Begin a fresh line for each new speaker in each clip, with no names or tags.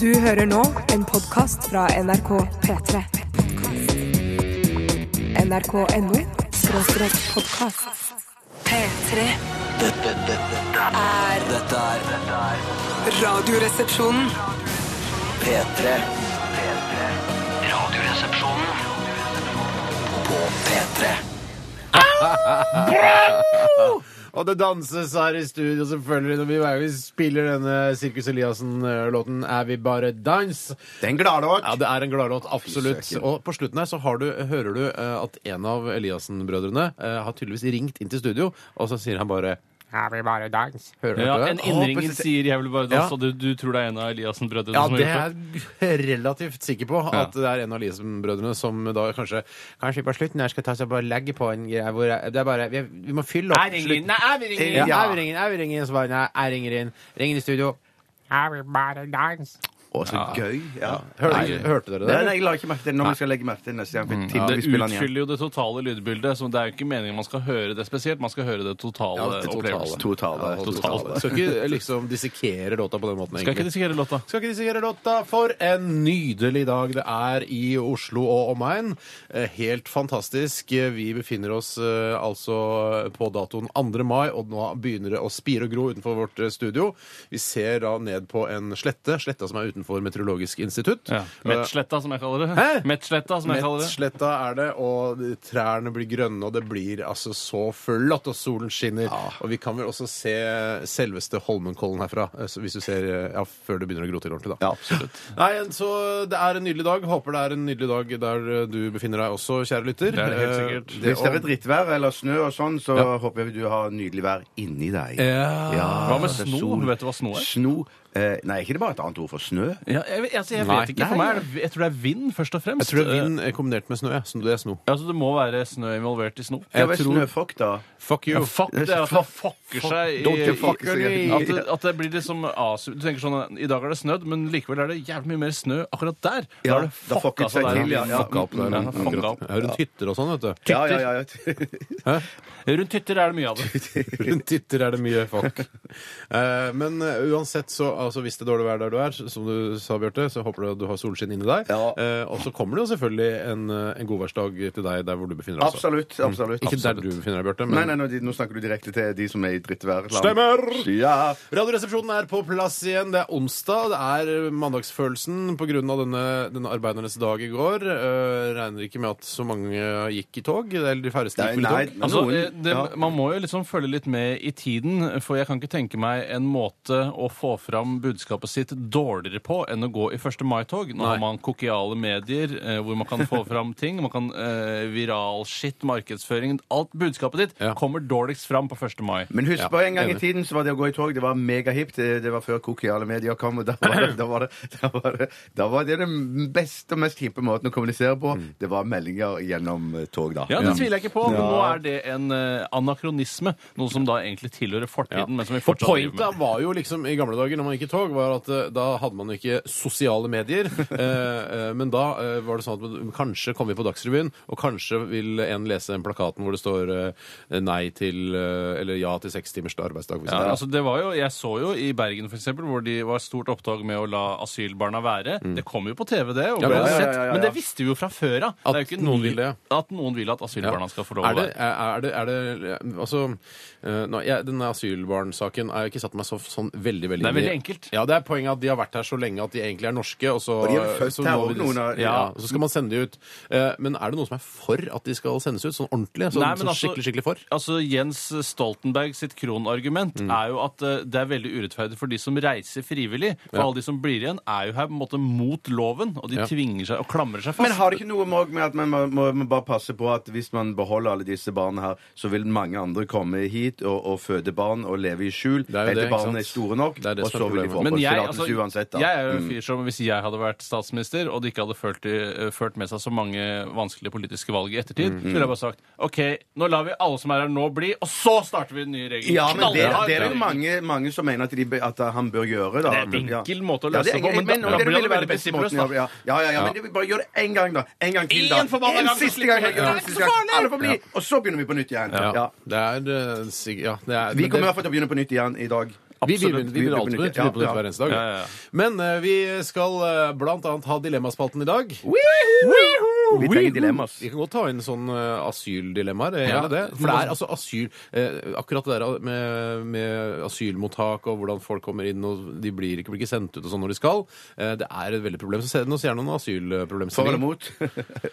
Du hører nå en podkast fra NRK P3. NRK.no skråstrek podkast. P3
Dette, dette, dette,
er
dette er dette er
Radioresepsjonen.
P3. P3. Radioresepsjonen på P3.
Og det danses her i studio, selvfølgelig, når vi, vi spiller denne Sirkus Eliassen-låten 'Er vi bare dans'.
Det er en gladlåt.
Ja, det er en gladlåt, absolutt. Og på slutten her så har du, hører du eh, at en av Eliassen-brødrene eh, har tydeligvis ringt inn til studio, og så sier han bare 'Er vi bare dans'? Hører
Ja,
du det?
en innringer sier 'Jeg vil bare
Ja.
danse', og du, du tror det er en av Eliassen-brødrene
Ja,
som
det
har gjort det?
er jeg relativt sikker på at det er en av Eliassen-brødrene som da kanskje Kanskje på slutten her skal ta seg og bare legge på en greie hvor jeg, Det er bare Vi, vi må fylle opp. slutten. Ja.
Ja.
Jeg ringer, jeg ringer, så bare, nei, jeg ringer inn. Ringer i studio.
Å, så gøy. Ja.
Hørte,
Nei.
hørte dere det?
Nei, nei, jeg la ikke merke til det. Nå må jeg legge merke til det neste gang.
Mm.
for jeg tipper vi
Det
spiller den igjen.
utfyller jo det totale lydbildet. Så det er jo ikke meningen man skal høre det spesielt, man skal høre det totale
Ja, det totale.
opplevelsen.
Totale.
Ja,
totale.
Skal ikke liksom dissekere låta på den måten,
Skal ikke
egentlig.
dissekere låta.
Skal ikke dissekere låta. For en nydelig dag det er i Oslo og omegn. Eh, Helt fantastisk. Eh, Vi befinner oss eh, altså på datoen 2. mai, og nå begynner det å spire og gro utenfor vårt eh, studio. Vi ser da ned på en slette, sletta som er utenfor Meteorologisk institutt.
Ja.
Eh,
Mettsletta, som jeg kaller det.
Hæ?
Mettsletta, som jeg kaller det.
Mettsletta er det, og de- trærne blir grønne, og det blir altså så flott, og solen skinner. Og vi kan vel også se selveste Holmenkollen herfra, eh, så hvis du ser eh, ja, før det begynner å gro til ordentlig, da.
Ja, absolutt.
Nei, en- så det er en nydelig dag. Håper det er en nydelig dag der eh, du befinner deg også, kjære lytter.
Det er det helt
Eh,
sikkert.
det-
Hvis det er
og-
drittvær eller snø og sånn, så
Ja.
håper jeg du har nydelig vær inni deg.
Hva med
det er
sno?
sol.
Vet du hva sno er?
Sno eh, Nei, er ikke det bare et annet ord for snø?
Ja, jeg, vet- altså, jeg
Nei.
vet ikke. For meg er det, jeg tror det er vind, først og
Jeg
fremst.
tror det er vind eh, kombinert med snø. Ja. Så det er sno.
Eh, altså, det må være snø involvert i sno.
Ja,
Jeg
hva er
tror-
snøfokk, da?
Fuck you.
Ja, fuck det er at man fucker seg
Don't you
i,
fuck yourself.
at, det, at det blir liksom asu... Du tenker sånn I dag er det snødd, men likevel er det jævlig mye mer snø akkurat der. Da
Ja,
har det
da fucket
fucka seg
seg til,
der.
ja, ja.
Fucka opp der. Ja, fucka opp.
Ja, rundt hytter og sånn, vet du.
Ja, ja, ja, ja.
Rundt hytter er det mye av det.
Rundt titter er det mye fuck. Eh, men eh, uansett, så altså, hvis det er dårlig vær der du er, som du sa, Bjarte, så håper du at du har solskinn inni deg.
Ja.
Eh, og så kommer det jo selvfølgelig en, eh, en godværsdag til deg der hvor du befinner deg. altså.
Absolutt. absolutt.
Ikke der
absolutt.
du befinner deg, Bjarte.
Mm.
Nei,
Men
nei, nå, de- nå snakker du direkte til de som er i drittværet.
Stemmer!
Ja.
Radioresepsjonen er på plass igjen. Det er onsdag. Det er eh, mandagsfølelsen pga. Denne, denne arbeidernes dag i går. Eh, regner ikke med at så mange gikk i tog. Eller de færreste
Nei,
gikk vel
nei,
i tog.
Altså,
noen-
eh, det,
ja.
Man må jo liksom følge litt med i tiden, for jeg kan ikke tenke meg en måte å få fram budskapet sitt dårligere på enn å gå i 1. mai-tog. Nå har man kokiale medier eh, hvor man kan få fram ting. Man kan eh, Viralskitt, markedsføring Alt budskapet ditt
Ja.
kommer dårligst fram på 1. mai.
Men husk
Ja,
bare en gang
enig.
i tiden så var det å gå i tog, det var megahipt. Det, det var før kokiale medier kom, og da var det, da var det, da var det, da var det den beste og mest hippe måten å kommunisere på.
Mm.
Det var meldinger gjennom eh, tog, da.
Ja, Det tviler jeg ikke på, men nå er det en eh, anakronisme. Noe som da egentlig tilhører fortiden. men som vi
For
fortsatt driver med.
pointet var jo liksom i gamle dager når man gikk i tog, var at eh, da hadde man ikke sosiale medier. eh, eh, men da eh, var det sånn at man- kanskje kommer vi på Dagsrevyen, og kanskje vil en lese den plakaten hvor det står eh, nei til eh, eller ja til seks timers arbeidsdag. for
Ja,
eksempel.
altså det var jo, jeg så jo i Bergen for eksempel, hvor de var stort opptog med å la asylbarna være. Det kom jo på TV, det. Og
Mm. Ja,
ble
ja, ja,
sett,
ja, ja, ja.
Men det visste vi jo fra før av.
At
Det er jo ikke
noen
ny-
vil det,
At noen vil at asylbarna skal få lov
Er
å
det,
være
er er det, er det Altså, eh, nå, jeg, denne asylbarnsaken har jeg ikke satt meg så, sånn veldig, veldig
Det er
inn i.
veldig enkelt.
Ja, det er poenget at de har vært her så lenge at de egentlig er norske, og så
Og de er vel født
så
her
må
også,
vi-
noen av-
ja, så skal man sende de ut. Eh, Men er det noen som er for at de skal sendes ut, sånn ordentlig? Sånn,
Nei, men
sånn
altså-
skikkelig, skikkelig for?
Altså, Jens Stoltenberg sitt kronargument
Mm.
er jo at eh, det er veldig urettferdig for de som reiser frivillig. For
Ja.
alle de som blir igjen, er jo her på en måte mot loven, og de
Ja.
tvinger seg og klamrer seg fast.
Men har det ikke noe med, med at man må, må, må bare passe på at hvis man beholder alle disse barna her, så vil mange andre komme hit og, og føde barn og leve i skjul
er jo det,
helt til
ikke
barna
sant?
er store nok,
Det er det
og
som er
så vil de
problemet.
få
Men jeg,
oppholdstillatelse
altså,
uansett. Da. Mm.
jeg er jo en fyr som hvis jeg hadde vært statsminister, og det ikke hadde ført, til- ført med seg så mange vanskelige politiske valg i ettertid,
Mm.
så ville jeg bare sagt OK, nå lar vi alle som er her nå, bli, og så starter vi den nye regelen.
Ja, men det,
Knallhard
det er det
regel.
mange, mange som mener at, de, be- at eh, han bør gjøre. Da.
Det er en enkel måte å
Ja,
løse
det
det
er
på,
enkel-
men da,
men om
da
det
blir
ville
det
være
veldig
den beste måten
prinsippeløst, da.
å gjøre- Ja, ja, ja, men det- bare gjør det én gang, da. En gang til, da.
En forbanna gang, så
siste
slipper
gang.
vi hele
Ja,
greia.
siste gang. Alle får bli, og så begynner vi på nytt igjen. Ja.
Det er eh, sikkert ja, det er-
Vi
men det-
kommer i hvert fall til å begynne på nytt igjen i dag.
Vi
Absolutt.
begynner, vi begynner alltid på nytt. Vi begynner på
Ja,
nytt
ja.
hver eneste dag.
Ja, ja, ja.
Men eh, vi skal eh, blant annet ha Dilemmaspalten i dag.
Vi trenger dilemmas.
Vi kan godt ta inn sånn eh, asyldilemmaer. eh,
Ja.
gjerne det. For det er altså asyl eh, Akkurat det der med, med asylmottak og hvordan folk kommer inn og de blir ikke, blir ikke sendt ut og sånn når de skal, eh, det er et veldig problem. Så send oss gjerne noen
For eller
asylproblemstillinger.
mot?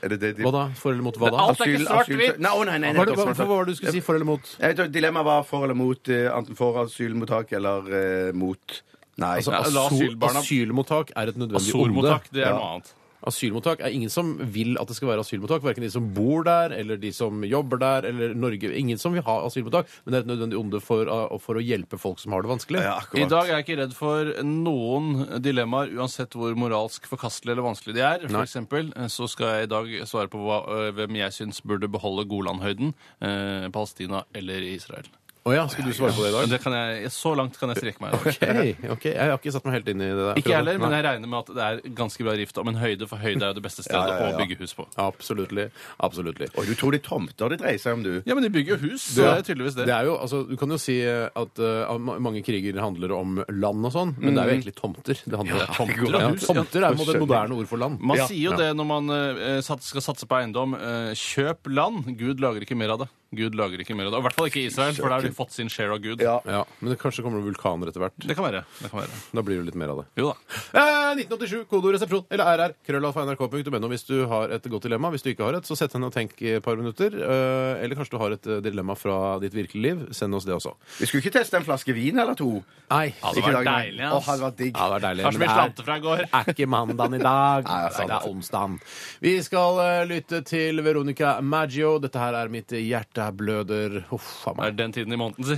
er det det de
Hva da? For eller mot hva da?
Alt er ikke svart-hvitt.
Nei, å, nei,
Hva
nei, nei,
var det, hva, hva var det du skulle si? For eller mot?
Jeg tror Dilemmaet var for eller mot eh, enten for asylmottak eller eh, mot Nei.
Altså,
Nei, la
asyl,
asylbarna-
asylmottak er et nødvendig onde.
Sormottak, det er noe annet.
Asylmottak er ingen som vil at det skal være asylmottak. Verken de som bor der, eller de som jobber der, eller Norge. Ingen som vil ha asylmottak, men det er et nødvendig onde for, å- for å hjelpe folk som har det vanskelig.
ja,
I
akkurat.
dag er jeg ikke redd for noen dilemmaer, uansett hvor moralsk forkastelig eller vanskelig de er. For
Nei.
eksempel eh, så skal jeg i dag svare på hva, eh, hvem jeg syns burde beholde Golanhøyden. Eh, Palestina eller Israel.
Å ja, skal du svare på det i
Men
dag?
det kan jeg, så langt kan jeg strekke meg. i dag.
Hei, ok, Jeg har ikke satt meg helt inn i det der.
Ikke jeg heller, men jeg regner med at det er ganske bra rift om en høyde, for høyde er jo det beste stedet å bygge hus på.
Absolutt. Absolutt.
Oi, du tror det er tomter det dreier seg om, du?
Ja, men de bygger jo hus, så det er tydeligvis det.
Det er jo, altså, du kan jo si at eh, ma- mange kriger handler om land og sånn, men det er jo egentlig tomter. Det handler
Mm. Ja, tomter
om.
og
ja,
hus, ja.
tomter er jo det moderne ord for land.
Man sier jo det når man eh, sats- skal satse på eiendom. eh, kjøp land. Gud lager ikke mer av det. Gud lager ikke mer av det. Og I hvert fall ikke Israel, for der har de fått sin share av Gud.
Ja.
Ja, Men det kanskje kommer det vulkaner etter hvert.
Det kan være. det kan være.
Da blir det litt mer av det.
Jo da.
Eh, 1987, kodeord resepsjon eller RR, krøllalfa.nrk.no hvis du har et godt dilemma. Hvis du ikke har et, så sett deg ned og tenk i et par minutter. Eh, eller kanskje du har et eh, dilemma fra ditt virkelige liv. Send oss det også.
Vi skulle ikke teste en flaske vin eller to?
Nei.
Hadde
Ikke
vært
dagen-
deilig, ass.
Å, hadde vært digg.
Ja, det er deilig.
Kanskje vi
men
slante fra i går.
det er ikke mandagen i dag. Nei,
det er sant.
det er onsdagen. Vi skal eh, lytte til Veronica Maggio. Dette her er mitt hjerte bløder. Huff a
Det
meg.
er den tiden i måneden, si.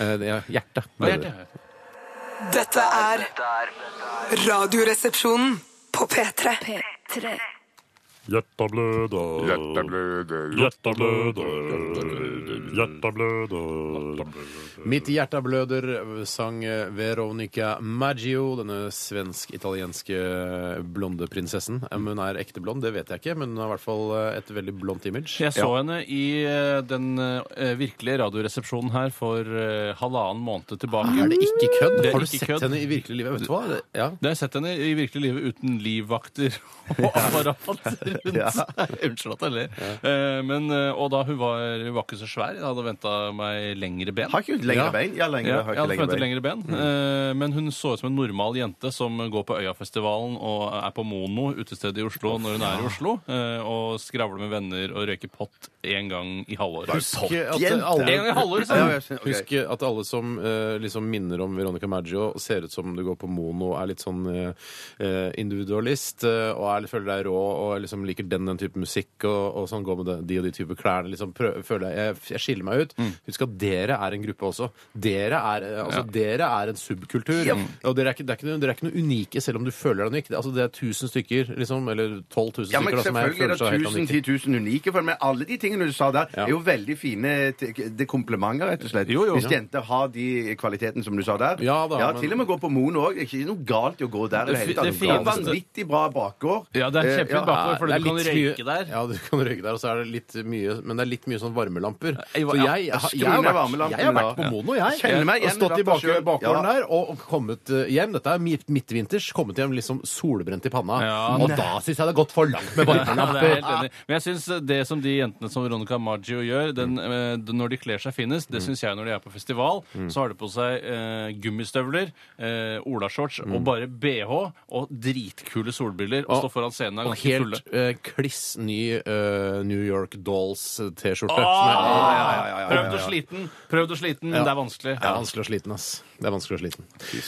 Eh, det er hjerte
Hva
bløder.
er det?
Dette er Radioresepsjonen på P3.
Hjerta bløder. Hjerta bløder. Hjerta bløder. Hjerta bløder.
Mitt hjerte bløder, sang Veronica Maggio, denne svensk-italienske blonde prinsessen. Om hun er ekte blond, det vet jeg ikke, men hun har i hvert fall eh, et veldig blondt image.
Jeg så henne i eh, den eh, virkelige radioresepsjonen her for eh, halvannen måned tilbake.
Er det ikke kødd?
Det er
Har du
ikke
sett
kødd.
henne i virkelig livet? Vet du hva? Det- Ja.
Det har jeg sett henne i virkelig livet uten livvakter og apparater rundt seg. Unnskyld at jeg ler. Eh, Men, eh, og da hun var, hun var ikke så svær. Jeg hadde venta meg lengre ben.
Har ikke hun lengre
Ja.
bein? Ja, lengre,
Ja,
har
jeg
ikke
hadde
lengre
forventet lengre
Mm. bein.
ben, eh, men hun så ut som en normal jente som går på Øyafestivalen og er på Mono, utestedet i Oslo, når hun er i Oslo, eh, og skravler med venner og røyker pott én gang i halvåret.
Husk at
Toppjente.
En gang i
alle
halvåret, sa
Ja,
hun!
jeg skjønner. Ok.
Husk at alle som eh, liksom minner om Veronica Maggio, ser ut som du går på mono, er litt sånn eh, eh, individualist eh, og er, føler deg rå og liksom liker den den type musikk og, og sånn går med den, de og de type klærne. Liksom prøv, føler jeg, jeg, jeg skiller meg ut.
Mm.
Husk at dere er en gruppe også. Dere er, eh, altså, dere er en subkultur. Og dere er, ikke, det er ikke, noe- dere er ikke noe unike selv om du føler deg unik. Det- Altså, det er 1000 stykker, liksom, eller 12 000
Ja, men
stykker da, som er,
selvfølgelig er
føler
det
seg helt
1000,
unike.
10 000 unike, for- men alle de tingene du sa der,
Ja.
er jo veldig fine t- det er komplimenter, rett og slett.
Jo, jo.
Hvis jenter har de kvalitetene som du sa der.
Ja, da, men-
til og med gå på Mono òg. Det er ikke noe galt i å gå der. i Det,
Det
hele
fi-
tatt.
det
det er
fineste-
vanvittig bra bakgård.
Ja, det er
Eh,
kjempefint bakgård,
det
fordi
er
du kan
litt mye-
røyke der.
Ja, du kan røyke der, og så er det litt mye Men det er litt mye sånn varmelamper.
Jeg-
Så jeg, jeg, har-
skru
jeg, har
ned
vært,
varmelampene
jeg har vært
da.
på Mono, jeg.
Jeg kjenner meg
og
igjen
stått i
i
bak,
dette selv.
bakgården
Ja.
der og og kommet eh, hjem. Dette er midt, midtvinters. Kommet hjem liksom solbrent i panna.
Ja.
Og da syns jeg det har gått for langt med
Ja, det er jeg
varmelamper.
helt enig. i. Men jeg synes det som de jentene som Veronica Maggio gjør, den, eh, d- når de kler seg finest, det syns jeg når de er på festival, så har de på seg eh, gummistøvler, eh, olashorts og bare BH og dritkule solbriller og står foran scenen og er
Og
ganske fulle.
helt eh, kliss ny eh, New York Dolls-T-skjorte.
Ah,
som er-
ja, ja, ja, ja, ja, ja. Prøvd og sliten, prøvd og sliten, men det er vanskelig.
Det er vanskelig å sliten, ass. Det er vanskelig å sliten.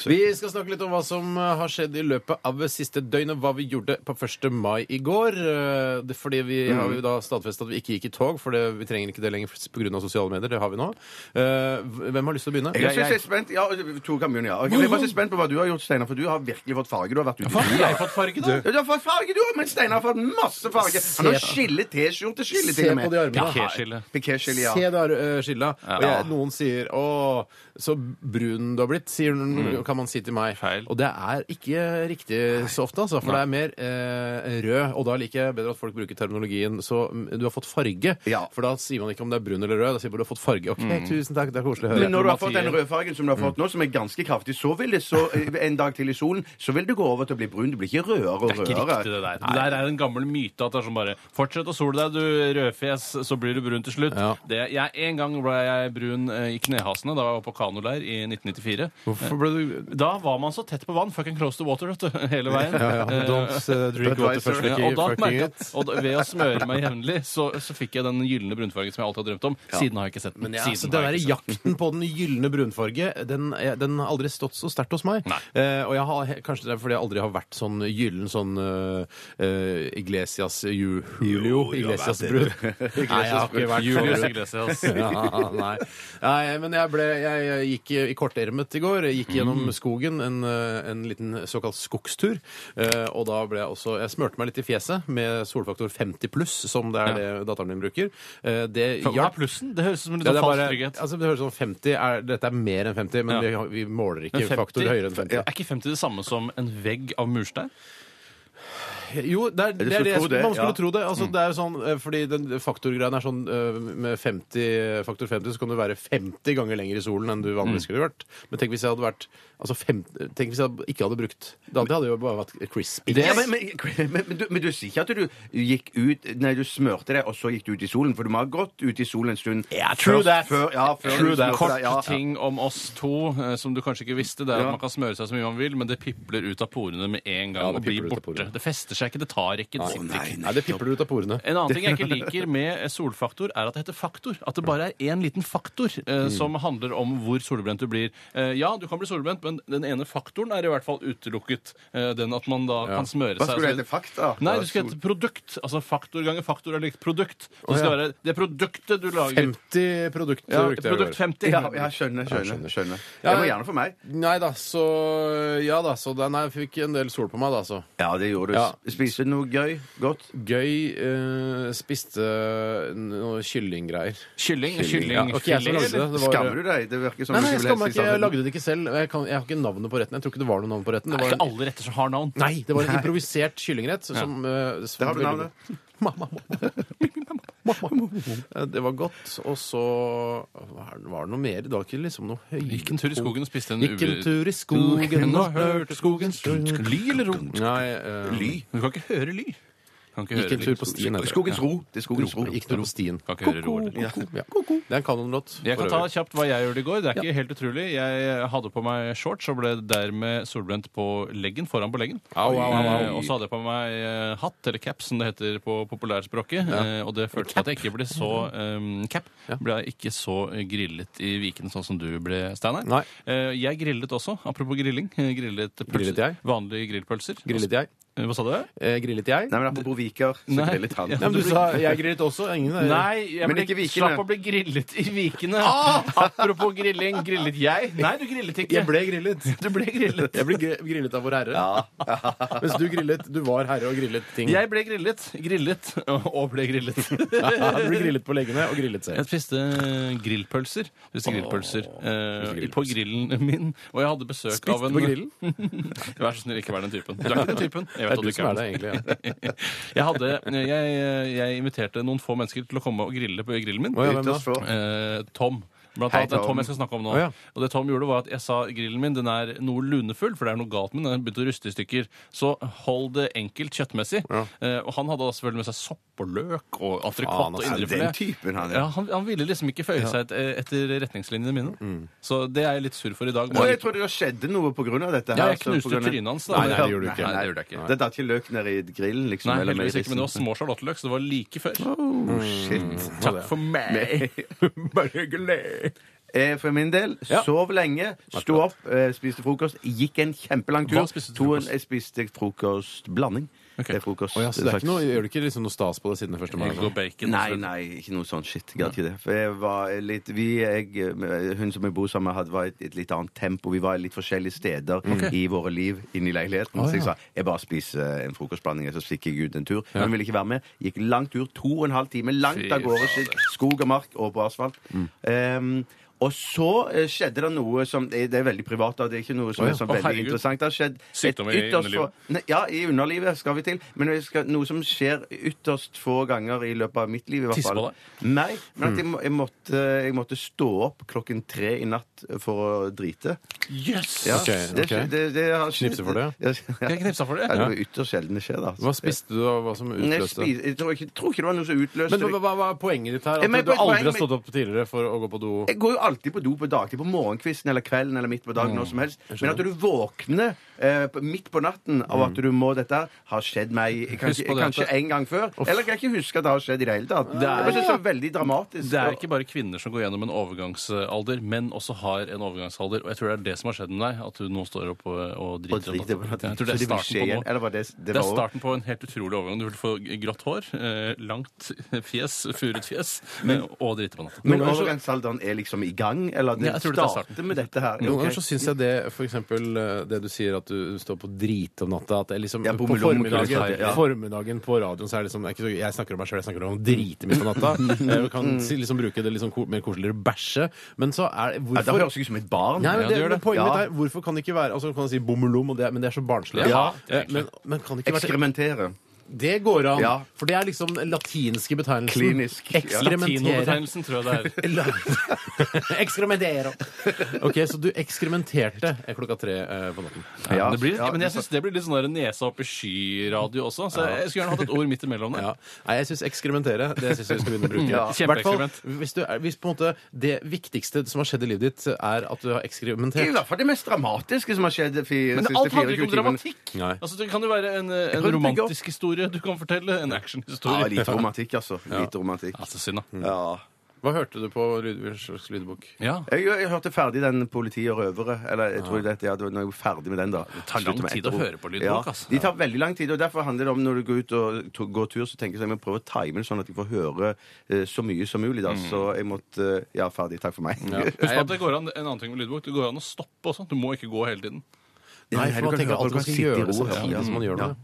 Vi skal snakke litt om hva som eh, har skjedd i løpet av det siste døgnet, hva vi gjorde på 1. mai i går. Eh, det- Fordi vi har
Mm.
jo da stadfestet at vi ikke gikk i tog, for det, vi trenger ikke det lenger pga. sosiale medier. Det har vi nå. Eh, Hvem har lyst til å begynne?
Jeg synes jeg er spent Ja, Tore kan begynne, ja. Ok, Jeg er bare så spent på hva du har gjort, Steinar, for du har virkelig fått farge. Du har vært ute i
Hva har
sola.
jeg fått farge, da?
Ja, du har fått farge, du òg, men Steinar har fått masse farge. Han har
Se-
skille T-skjorte, skille
Se
til og
på de
med.
armene.
Pikéskille.
Pikéskille, ja.
Se der, eh, skilla. Og
Ja.
jeg, noen sier 'Å, så brun du har blitt', sier, noen- kan man si til meg.
Feil.
Og det er ikke riktig så ofte, altså, for det er mer eh, rød. Og da liker jeg bedre at folk bruker terminologien så mm, 'du har fått farge'.
Ja.
For da sier man ikke om det er brun eller rød, da sier man 'du har fått farge'. Ok, tusen takk, det er koselig å høre.
Men når du har fått den rødfargen som du har fått nå, som er ganske kraftig, så vil det så, eh, en dag til i solen, så vil det gå over til å bli brun. Du blir ikke rødere og
Det er
rødere.
ikke riktig, det der. Det der er en gammel myte at det er sånn bare Fortsett å sole deg, du rødfjes, så blir du brun til slutt.
Ja.
Det, jeg, en gang ble jeg brun eh, i knehasene da jeg var på kanoleir i 1994.
Hvorfor ble du
Da var man så tett på vann. Fucking close to water, vet du. Hele veien.
ja,
Eh,
Don't eh, drink water
Budweiser.
first,
ja,
Vicky.
og, da
Fucking
merket,
it.
jeg- og da- ved å smøre meg jevnlig, så, så fikk jeg den gylne brunfargen som jeg alltid har drømt om. Siden har jeg ikke sett den.
Men ja,
Siden
altså,
har
den der
jeg ikke sett den.
jakten på den gylne brunfarge, den, eh, den har aldri stått så sterkt hos meg.
Nei.
Eh, og jeg har, he- kanskje det er fordi jeg aldri har vært sånn gyllen sånn eh, eh, Iglesias Ju- Julio
Jo, jo,
Iglesias
vet
brun.
du.
Nei, jeg har ikke vært
Julius
sånn brun.
Iglesias.
Ja, nei. nei, men jeg, ble, jeg, jeg gikk i- i kortermet i går. Jeg gikk
Mm.
gjennom skogen en, eh, en liten såkalt skogstur. eh, Og da ble jeg også Jeg smurte meg litt i fjeset med solfaktor 50 pluss, som det er det datteren min bruker. Eh, Det
Hva er
hjalp.
plussen? Det høres ut som en litt
Ja, det,
sånn
er
falsk
bare,
trygghet.
altså, det høres sånn 50 er, Dette er mer enn 50, men
Ja.
vi, har- vi måler ikke
Men 50
faktor høyere enn 50.
Er ikke 50 det samme som en vegg av murstein?
Jo, det er det, er det
skulle
jeg
tro
skulle-
det,
man skulle
ja. Mm.
tro det. Altså, det er jo sånn, eh, fordi den faktorgreien er sånn eh, Med 50, faktor 50 så kan du være 50 ganger lenger i solen enn du vanligvis
Mm.
skulle vært. Men tenk hvis jeg hadde vært altså 50, Tenk hvis jeg hadde- ikke hadde brukt Da hadde jeg jo bare vært crispy.
Ja, men, men, men, men, du, men du sier ikke at du gikk ut Nei, du smørte deg, og så gikk du ut i solen. For du må ha gått ut i solen en stund.
Ja, true
først-
that.
Før, ja, før
True
du
that.
smørte
Kort
deg, ja.
ting om oss to eh, som du kanskje ikke visste. Det er
Ja.
at Man kan smøre seg så mye man vil, men det pipler ut av porene med en gang
Ja, det
og blir
pipler ut av
borte.
porene.
Det fester seg ikke, det tar ikke, det sitter ikke.
Nei, det pipler ut av porene.
En annen ting jeg ikke liker med solfaktor, er at det heter faktor. At det bare er én liten faktor eh,
Mm.
som handler om hvor solbrent du blir. Eh, ja, du kan bli solbrent, men den ene faktoren er i hvert fall utelukket. Eh, den at man da kan smøre
Hva
seg.
skulle det
altså-
hete? Fakta?
Nei, du skulle hete produkt. Altså faktor ganger faktor er likt produkt. Det skal
ja.
være det produktet du lager.
50 produkter
Ja,
brukte jeg i går.
produkt 50.
Ja, ja, skjønner, skjønner. skjønner.
Ja,
Det var
ja.
gjerne for meg.
Nei da, så Ja da, så den her fikk en del sol på meg, da, så.
Ja, det gjorde du.
Ja.
Spiste du noe gøy? Godt?
Gøy eh, spiste noe kyllinggreier.
Kylling.
Ja,
Kylling.
ok, jeg som lagde det. det var,
Skammer du deg? Det virker som
Nei,
du
nei, jeg
skulle
skammer meg ikke.
lese
Jeg
sammen.
lagde det ikke selv. Jeg, kan, jeg har ikke navnet på retten. Jeg tror ikke det var noe navn på retten. Det
Det er
var
ikke
en,
alle retter som har navn.
nei, det var en improvisert kyllingrett. Som, eh, som
Det har du
veldig
navnet.
god. Mamma, mamma. Det var godt. Og så var det var det noe mer. Det var ikke liksom noe høy...
Gikk en tur i skogen og spiste en
Gikk en tur i skogen og hørte skogens
Ly eller ro?
Nei, eh,
Ly.
Du kan ikke høre ly. Kan ikke
Gikk en tur på stien. heter det.
Skogens ro. Det er skogens ro.
Gikk en tur på stien.
Kan ikke høre ro, eller?
Ko-ko, ko-ko. Ja. Det er en kanonlåt.
Jeg kan
for
ta
øvrig.
kjapt hva jeg gjorde i går. Det er ikke helt utrolig. Jeg hadde på meg shorts og ble dermed solbrent på leggen, foran på leggen.
Au, au, au, au.
Eh, Og så hadde jeg på meg eh, hatt, eller cap, som det heter på populærspråket. Eh, Og det førte til at jeg ikke ble så eh, cap. Ble jeg ikke så grillet i Viken, sånn som du ble, Steinar.
Nei.
Eh, Jeg grillet også, apropos grilling. Eh, Grillet, pølser.
Grillet jeg?
vanlige grillpølser.
Grillet jeg?
Eh, Hva sa du?
Eh, grillet jeg?
Nei, men apropos viker, så
Nei.
grillet han.
Ja,
Nei, men du sa jeg grillet også. Ingen
Nei, jeg
Men
ble,
ikke vikene.
slapp å bli grillet i Vikene. Apropos grilling, grillet jeg? Nei, du grillet ikke.
Ah! Jeg ble grillet.
Du ble grillet.
Jeg ble gri- grillet av vår herre. Mens du grillet, du var herre og grillet ting.
Jeg ble grillet, grillet og ble grillet.
Du ble grillet på leggene og grillet selv.
Jeg spiste grillpølser. Spiste grillpølser eh,
grillpølser.
på grillen min. Og jeg hadde besøk av
Spist
en
på grillen?
Vær så snill, ikke vær den typen. Du er ikke den typen. Jeg
Det
vet
er
at du
du som
ikke
er
er
det,
den.
egentlig.
Jeg, hadde, jeg, jeg inviterte noen få mennesker til å komme og grille på grillen min.
Å, ja, hvem
Ytterst
da?
få.
Eh, Tom. Blant
Hei,
annet, det er Tom
Tom
jeg skal snakke om nå.
Å, ja.
Og det Tom gjorde var at Jeg sa grillen min den er noe lunefull, for det er noe galt med den. Den begynte å ruste i stykker. Så hold det enkelt kjøttmessig. Eh, og han hadde da selvfølgelig med seg sopp og løk og
Faen,
entrecôte og
altså,
Den
indrefilet.
typen han
Ja,
er.
han, han ville liksom ikke føye seg et, etter retningslinjene mine. Så det er jeg litt sur for i dag.
Og jeg trodde det skjedde noe på grunn av dette.
Ja,
her,
jeg
så på
knuste
grunn av-
trynet hans, da.
Nei, nei, det
gjorde du ikke.
Nei, det gjorde jeg ikke. Det datt ikke løk ned i grillen, liksom.
Nei,
eller
heldigvis ikke, men det var
meierisen.
små sjalottløk, så det var like før.
Oh, shit.
Takk for meg!
Bare hyggelig. Eh, For min del sov lenge, sto opp, eh, spiste frokost, gikk en kjempelang tur.
Hva spiste du til
To-
frokost?
Jeg spiste frokostblanding.
Det er frokost.
Å ja, så det er ikke noe, gjør du ikke liksom noe stas på det siden 1. mai?
Egg og bacon.
Nei,
altså.
nei, ikke noe sånn shit.
Gadd ikke det. For jeg var litt vi, jeg, Hun som jeg bor sammen med, hadde var i et, et litt annet tempo. Vi var i litt forskjellige steder i våre liv inne i leiligheten. Så jeg sa jeg bare spiser en frokostblanding, og så stikker jeg ut en tur. Hun ville ikke være med. Gikk lang tur, to og en halv time, langt av gårde. Skog og mark og på asfalt.
Mm.
Ehm, og så eh, skjedde det noe som eh, Det det er veldig privat, da. Det er ikke noe som er sånn
Å,
veldig
herregud.
interessant. Det har skjedd et
Sykdommer i
ytterst
underlivet.
få- Nei, Ja, i underlivet skal vi til. Men jeg skal, noe som skjer ytterst få ganger i løpet av mitt liv, i hvert
Tisse på
fall.
deg?
Nei,
Hmm.
men at jeg, må- jeg, måtte, jeg måtte stå opp klokken tre i natt for å drite.
Yes!
Ja,
Ok,
det,
ok.
det, det har skjedd.
Knipse for det?
Ja,
Jeg knipsa for det.
Ja, det var ytterst sjelden det skjer, da.
Hva spiste du, og hva som
Nei, jeg,
utløste?
spis, jeg, tror ikke, jeg tror ikke det var noe som utløste
Men hva, hva, hva er poenget ditt her?
Ja,
At
men
du
poenget
aldri har
mitt-
stått opp tidligere for å gå på do?
Jeg går jo alltid på do på dagtid, på morgenkvisten eller kvelden eller midt på dagen,
Mm.
når som helst. Men at du våkner eh, på- midt på natten av at du må dette, her, har skjedd meg
Mm. Husk på
kanskje,
det at
kanskje
det-
en gang før. Eller kan jeg ikke huske at det har skjedd i det hele tatt. Det
er-
er, så veldig dramatisk.
Det er ikke bare kvinner som går gjennom en overgangsalder, men også har en overgangsalder. Og jeg tror det er det som har skjedd med deg, at du nå står opp og, og
Og
driter.
drite på natten.
Jeg tror det
Så
er
det vil skje
starten på
igjen.
noe.
Eller var det, det,
Det er
var over?
starten på en helt utrolig overgang. Du vil få grått hår, eh, langt fjes, furet fjes, eh, og drite på natten.
Men
Noen ganger så-
overgangsalderen er liksom i gang? Eller
Ja,
det
jeg tror det er
starter
starten.
med dette her?
Noen
ok.
ganger så syns jeg det for eksempel, eh, det du sier at du står på drit om natta at det er liksom,
Ja,
På
bommelom-
formiddagen,
ja.
formiddagen på radioen så er det liksom det er ikke så, Jeg snakker om meg sjøl, jeg snakker om å drite midt på natta. Jeg kan si- liksom bruke det litt sånn ko- mer koseligere bæsje. Men så er
ja, det
hvorfor
høres jeg ut som et barn.
Nei, men, det,
Ja, det gjør
men
det.
poenget
Ja.
mitt er hvorfor kan det ikke være altså, kan jeg si bommelom, og det, er- men det er så barnslig.
Ja,
Eh, men, men kan det ikke være
Ekskrementere.
Det går an.
Ja.
For det er liksom den latinske betegnelsen.
Klinisk. Ja.
Ekskrementere.
Latinobetegnelsen tror jeg det er.
Ekskrementere. OK, så du ekskrementerte klokka tre eh, på natten.
Ja,
Det blir,
ja,
men jeg syns det blir litt sånn der nesa opp i sky-radio også, så jeg skulle gjerne hatt et ord midt imellom der.
Ja. Nei, jeg syns ekskrementere. Det syns jeg vi skal begynne å bruke.
Ja,
kjempeeksperiment.
Hvertfall, Hvis, du er- hvis på en måte det viktigste som har skjedd i livet ditt, er at du har
Det er i
ekskrementert
hvert fall det mest dramatiske som har skjedd de fire-
Men
siste
alt handler
24
ikke om
timene.
dramatikk.
Nei.
Altså, det kan jo være en, en
prøvde å bygge opp.
romantisk historie du kan fortelle. En
Ja, Mm.
actionhistorie.
lite romantikk, altså. Lite romantikk.
Altså, synd, da.
Ja.
Hva hørte du på lyd, hva slags lydbok?
Ja.
Jeg, jeg hørte ferdig den 'Politi og røvere'. Eller jeg tror det, ja, det var- når jeg var ferdig med den, da. Det
tar lang tid å høre på lydbok, altså.
De tar veldig lang tid. og Derfor handler det om når du går ut og to, går tur, så tenker jeg at jeg må prøve å time det sånn at jeg får høre eh, så mye som mulig. da.
Mm.
Så jeg måtte eh, Ja, ferdig. Takk for meg.
Husk på at det går an, en annen ting med lydbok. Det går an å stoppe også. Du må ikke gå hele tiden.
Nei, for
du
man
kan
tenker alltid
høre- du
man skal
kan sitte i
gjøre det
ro og høre.
samtidig som man gjør
Ja.
det.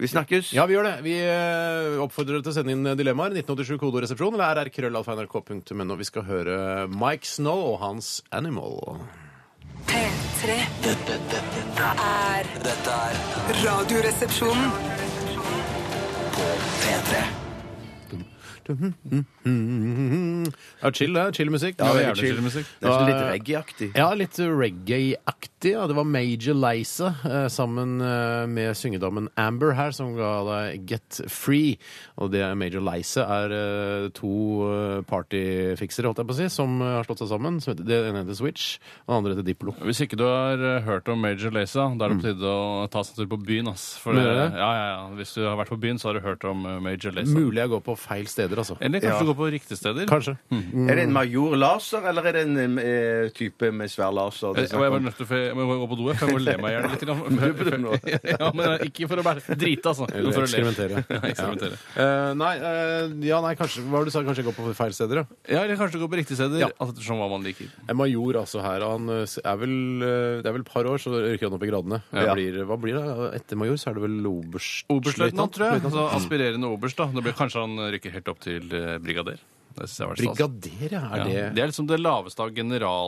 Vi snakkes.
Ja, vi gjør det. Vi eh, oppfordrer dere til å sende inn dilemmaer. 1987 kodoresepsjon eller rrkrøllalfa.nrk.no. Vi skal høre Mike Snow og hans Animal.
P3
Dette, dette,
er
dette er
Radioresepsjonen.
P3.
Ja, chill, det. Chill musikk.
Ja, veldig
Jævlig
chill.
musikk.
Det er litt
Ja,
reggae-aktig.
Ja, litt reggae-aktig. Ja. Det var Major Leise eh, sammen eh, med syngedammen Amber her, som ga deg Get Free. Og det er Major Leise er eh, to eh, partyfiksere, holdt jeg på å si, som eh, har slått seg sammen. Som heter, det ene heter Switch, og den andre heter Diplo.
Hvis ikke du har eh, hørt om Major Lazer, da er det på tide å ta seg en tur på byen. Ass. For det,
Mener du det?
ja, ja, ja. Hvis du har vært på byen, så har du hørt om eh, Major Lazer.
Mulig jeg går på feil steder, altså.
Eller kanskje
Ja.
du går på riktige steder.
Kanskje.
Mm.
Er det en major laser, eller er det en eh, type med svær laser?
Jeg, og jeg var nødt til Eh, å jeg må gå på do, jeg, for jeg må le meg i hjel litt. grann.
Du burde nå.
ja, men eh, ikke for å bare drite, altså. men
Eller
for å le.
ekskrementere.
Ja, ekskrementere.
Eh, nei, eh, ja, nei, kanskje Hva var det du sa? Kanskje jeg går på feil steder, ja?
Ja, eller kanskje du går på riktige steder,
Ja.
alt ettersom hva man liker.
En major altså her, han eh, er vel, eh, det er vel et par år, så rykker han opp i gradene.
Ja.
Blir, hva blir det? Etter major så er det vel oberst...
Oberstløytnant, tror jeg.
løytnant.
Altså, aspirerende oberst. da. Det blir kanskje han rykker helt opp til eh, brigader. Det synes jeg var stas.
Brigader, ja. Er
Ja.
det
Det er liksom det laveste av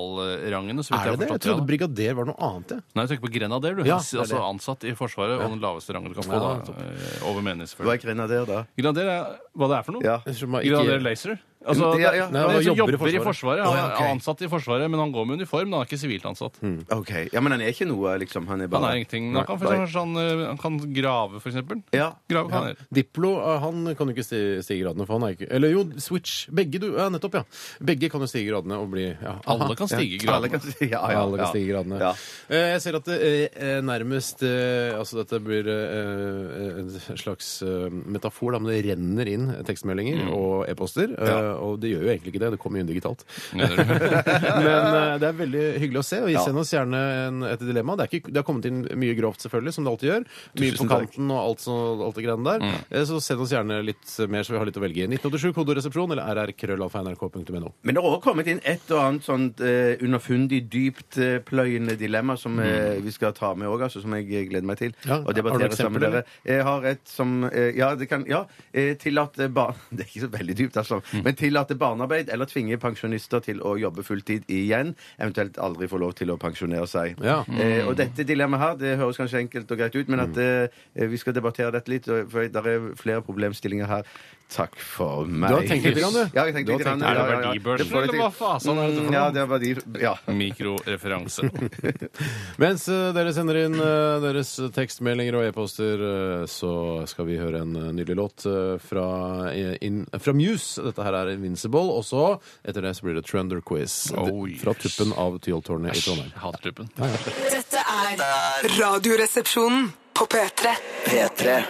generalrangene. så vidt
Er det det? Jeg
jeg har forstått. ja,
trodde
da.
brigader var noe annet, jeg.
Nei, du tenker på grenader, du.
Ja, det er
altså
det.
ansatt i Forsvaret, og den laveste rangen du kan få.
Ja,
da,
topp.
eh, over menig,
Du er
selvfølgelig.
grenader, da?
Grenader er hva det er for noe?
Ja.
Jeg tror man ikke-
Grenader Laser? Altså,
Nei,
det- det
Ja, ja.
er
han
en som
jobber i
jobber i
Forsvaret.
Forsvaret.
Å,
Han
ja,
er
ok.
ansatt i Forsvaret, men han går med uniform. da. Han er ikke sivilt ansatt.
Ok. Ja, Men han er ikke noe, liksom? Han er
Han
bare
er ingenting. Han kan, for
Nei.
eksempel, han, eh, han kan grave, for eksempel.
Ja.
Grave kan han gjøre.
Diplo eh, han kan jo ikke sti- stige gradene, for han er ikke Eller jo, Switch. Begge, du. Ja, nettopp, ja. Begge kan jo stige gradene og bli ja.
Alle kan stige i
Alle
gradene.
kan si ja, ja,
Ja, alle kan
ja.
stige i gradene.
Ja.
Eh, Jeg ser at det eh, nærmest eh, Altså, dette blir
Mm.
eh, en slags eh, metafor, da, men det renner inn tekstmeldinger og e-poster. eh, eh, og det gjør jo egentlig ikke det. Det kommer jo inn digitalt.
Mener du?
Men eh, det er veldig hyggelig å se. Og
Ja.
send oss gjerne en, et dilemma. Det, er ikke, det har kommet inn mye grovt, selvfølgelig, som det alltid gjør. Mye på
Tusen takk. Mm.
kanten og alt, så, alt det greiene der. Eh, Så send oss gjerne litt mer, så vi har litt å velge i. 1987 kodoresepsjon eller rrkrøllalfa.nrk.no.
Men det har også kommet inn et og annet sånt eh, underfundig, dypt eh, pløyende dilemma som eh, vi skal ta med òg, altså, som jeg eh, gleder meg til
Mm. Ja,
å
har du
debattere
et
sammen med
eksempel,
dere. Jeg har et som eh, Ja, det kan Ja. eh, Tillate barn... Det er ikke så veldig dypt, altså.
Mm.
Men tillate barnearbeid eller tvinge pensjonister til å jobbe fulltid igjen, eventuelt aldri få lov til å pensjonere seg.
Ja. Mm.
Eh, og dette dilemmaet her, det høres kanskje enkelt og greit ut, men at eh, vi skal debattere dette litt, og- for det er flere problemstillinger her. Takk for meg.
har tenkt litt grann, du.
Ja, jeg har tenkt
Du har
litt grann,
tenkt
Er det
ja, ja, ja.
verdibørsen,
får jeg
eller
til.
hva fasen er dette for
Mm, Ja, det er verdi... Ja.
Mikroreferanse.
Mens eh, dere sender inn eh, deres tekstmeldinger og e-poster, eh, så skal vi høre en eh, nydelig låt eh, fra, eh, in, fra Muse. Dette her er Invincible. Og så, etter det, så blir det Trender Quiz.
Oh, yes.
Fra tuppen av Tyholttårnet i Trondheim.
Hattuppen.
Dette er Radioresepsjonen på P3.
P3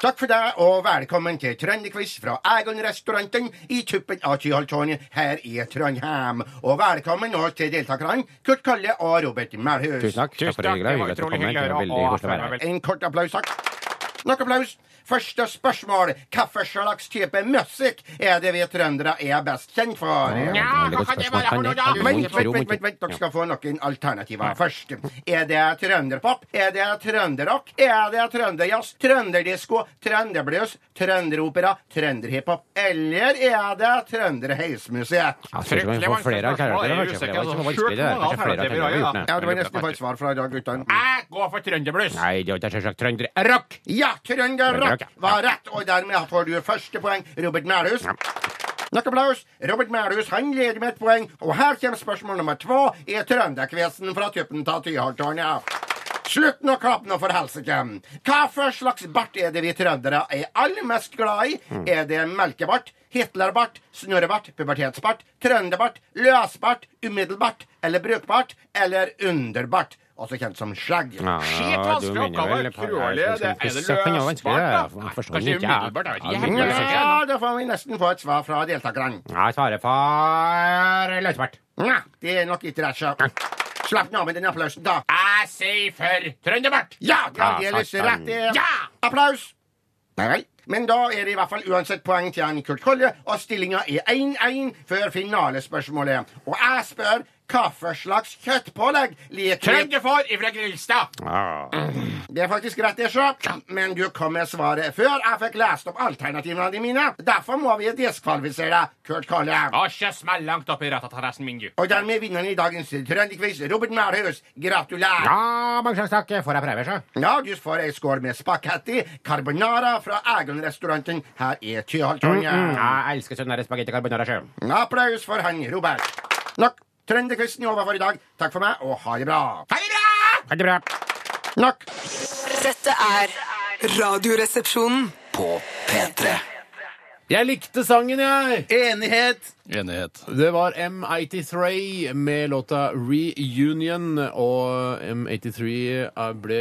Takk for deg, og velkommen til Trønderquiz fra Egon-restauranten i tuppen av Tyholttårnet her i Trondheim. Og velkommen nå til deltakerne Kurt Kalle og Robert Melhus.
takk. Tusen takk. Det var utrolig hyggelig å høre. Og
En kort applaus, takk. Nok applaus. Første spørsmål. Hvilken slags type musikk er det vi trøndere er best kjent for?
Ja, hva kan det være for noe, da?
Vent, vent, vent, vent, vent, dere skal få noen alternativer først. Er det trønderpop? Er det trønderrock? Er det trønderjazz? Trønderdisko? Trønderblues? Trønderopera? Trønderhiphop? Eller er det trønderheismusikk?
Ja, tror ikke man får flere alternativer, kanskje, for det var ikke så vanskelig, det. Kanskje flere alternativer vi har gjort,
Ja, det var nesten bare et svar fra i dag, guttene.
Jeg går for trønderbluss! Nei, det er selvsagt trønderrock!
Ja, trønderrock var rett, og dermed får du første poeng, Robert Melhus. Nok applaus. Robert Melhus han leder med et poeng, og her kommer spørsmål nummer to i Trønderkvesen fra tuppen av Tyholttårnet. Slutt nå klappen og for helsike! Hva for slags bart er det vi trøndere er aller mest glad i? Er det melkebart, Hitlerbart, snørrebart, pubertetsbart, trønderbart, løsbart, umiddelbart eller brukbart eller underbart? Også kjent som skjegg.
Ja,
Skit,
du
vanskelig
mener
oppgave.
vel på-
Utrolig,
jeg synes
det er
ikke
det
søkken var vanskelig,
løsbart, da.
jeg forstår
Kanskje
ikke, jeg.
umiddelbart, jeg vet ikke. Jeg
Ja, men-
heller-
Ja, da får vi nesten få et svar fra deltakerne.
Jeg svarer for løsbart.
Nja, det er nok ikke rasja. Slapp nå av med den applausen, da.
Jeg sier for trønderbart!
Ja, det
Ja,
er lyst
satan.
rett det.
Ja!
Applaus! Nei vel. Men da er det i hvert fall uansett poeng til han Kurt Kolle, og stillinga er 1-1 før finalespørsmålet. Og jeg spør hva for slags kjøttpålegg liker vi?
Trønderfår ifra Grilstad!
Det er faktisk rett, det, sjø. Men du kom med svaret før jeg fikk lest opp alternativene mine. Derfor må vi diskvalifisere deg, Kurt Kolle.
Og kjøss meg langt opp i rataterrassen min, du.
Og dermed vinneren i dagens Trønderquiz, Robert Mælhus. Gratulerer.
Ja, mange slags takk. Får jeg prøve, så?
Ja, du får ei skål med spagetti carbonara fra Egon-restauranten her i Tyholttårnet.
Mm.
Jeg elsker sånn der spagetti carbonara sjø.
Applaus for han Robert. Nok Trønderquizen er over for i dag. Takk for meg, og ha det bra.
Ha det bra! Ha det bra.
Nok.
Dette er Radioresepsjonen.
P3
Jeg likte sangen, jeg!
Enighet!
Enighet.
Det var M83 med låta Reunion. Og M83 er- ble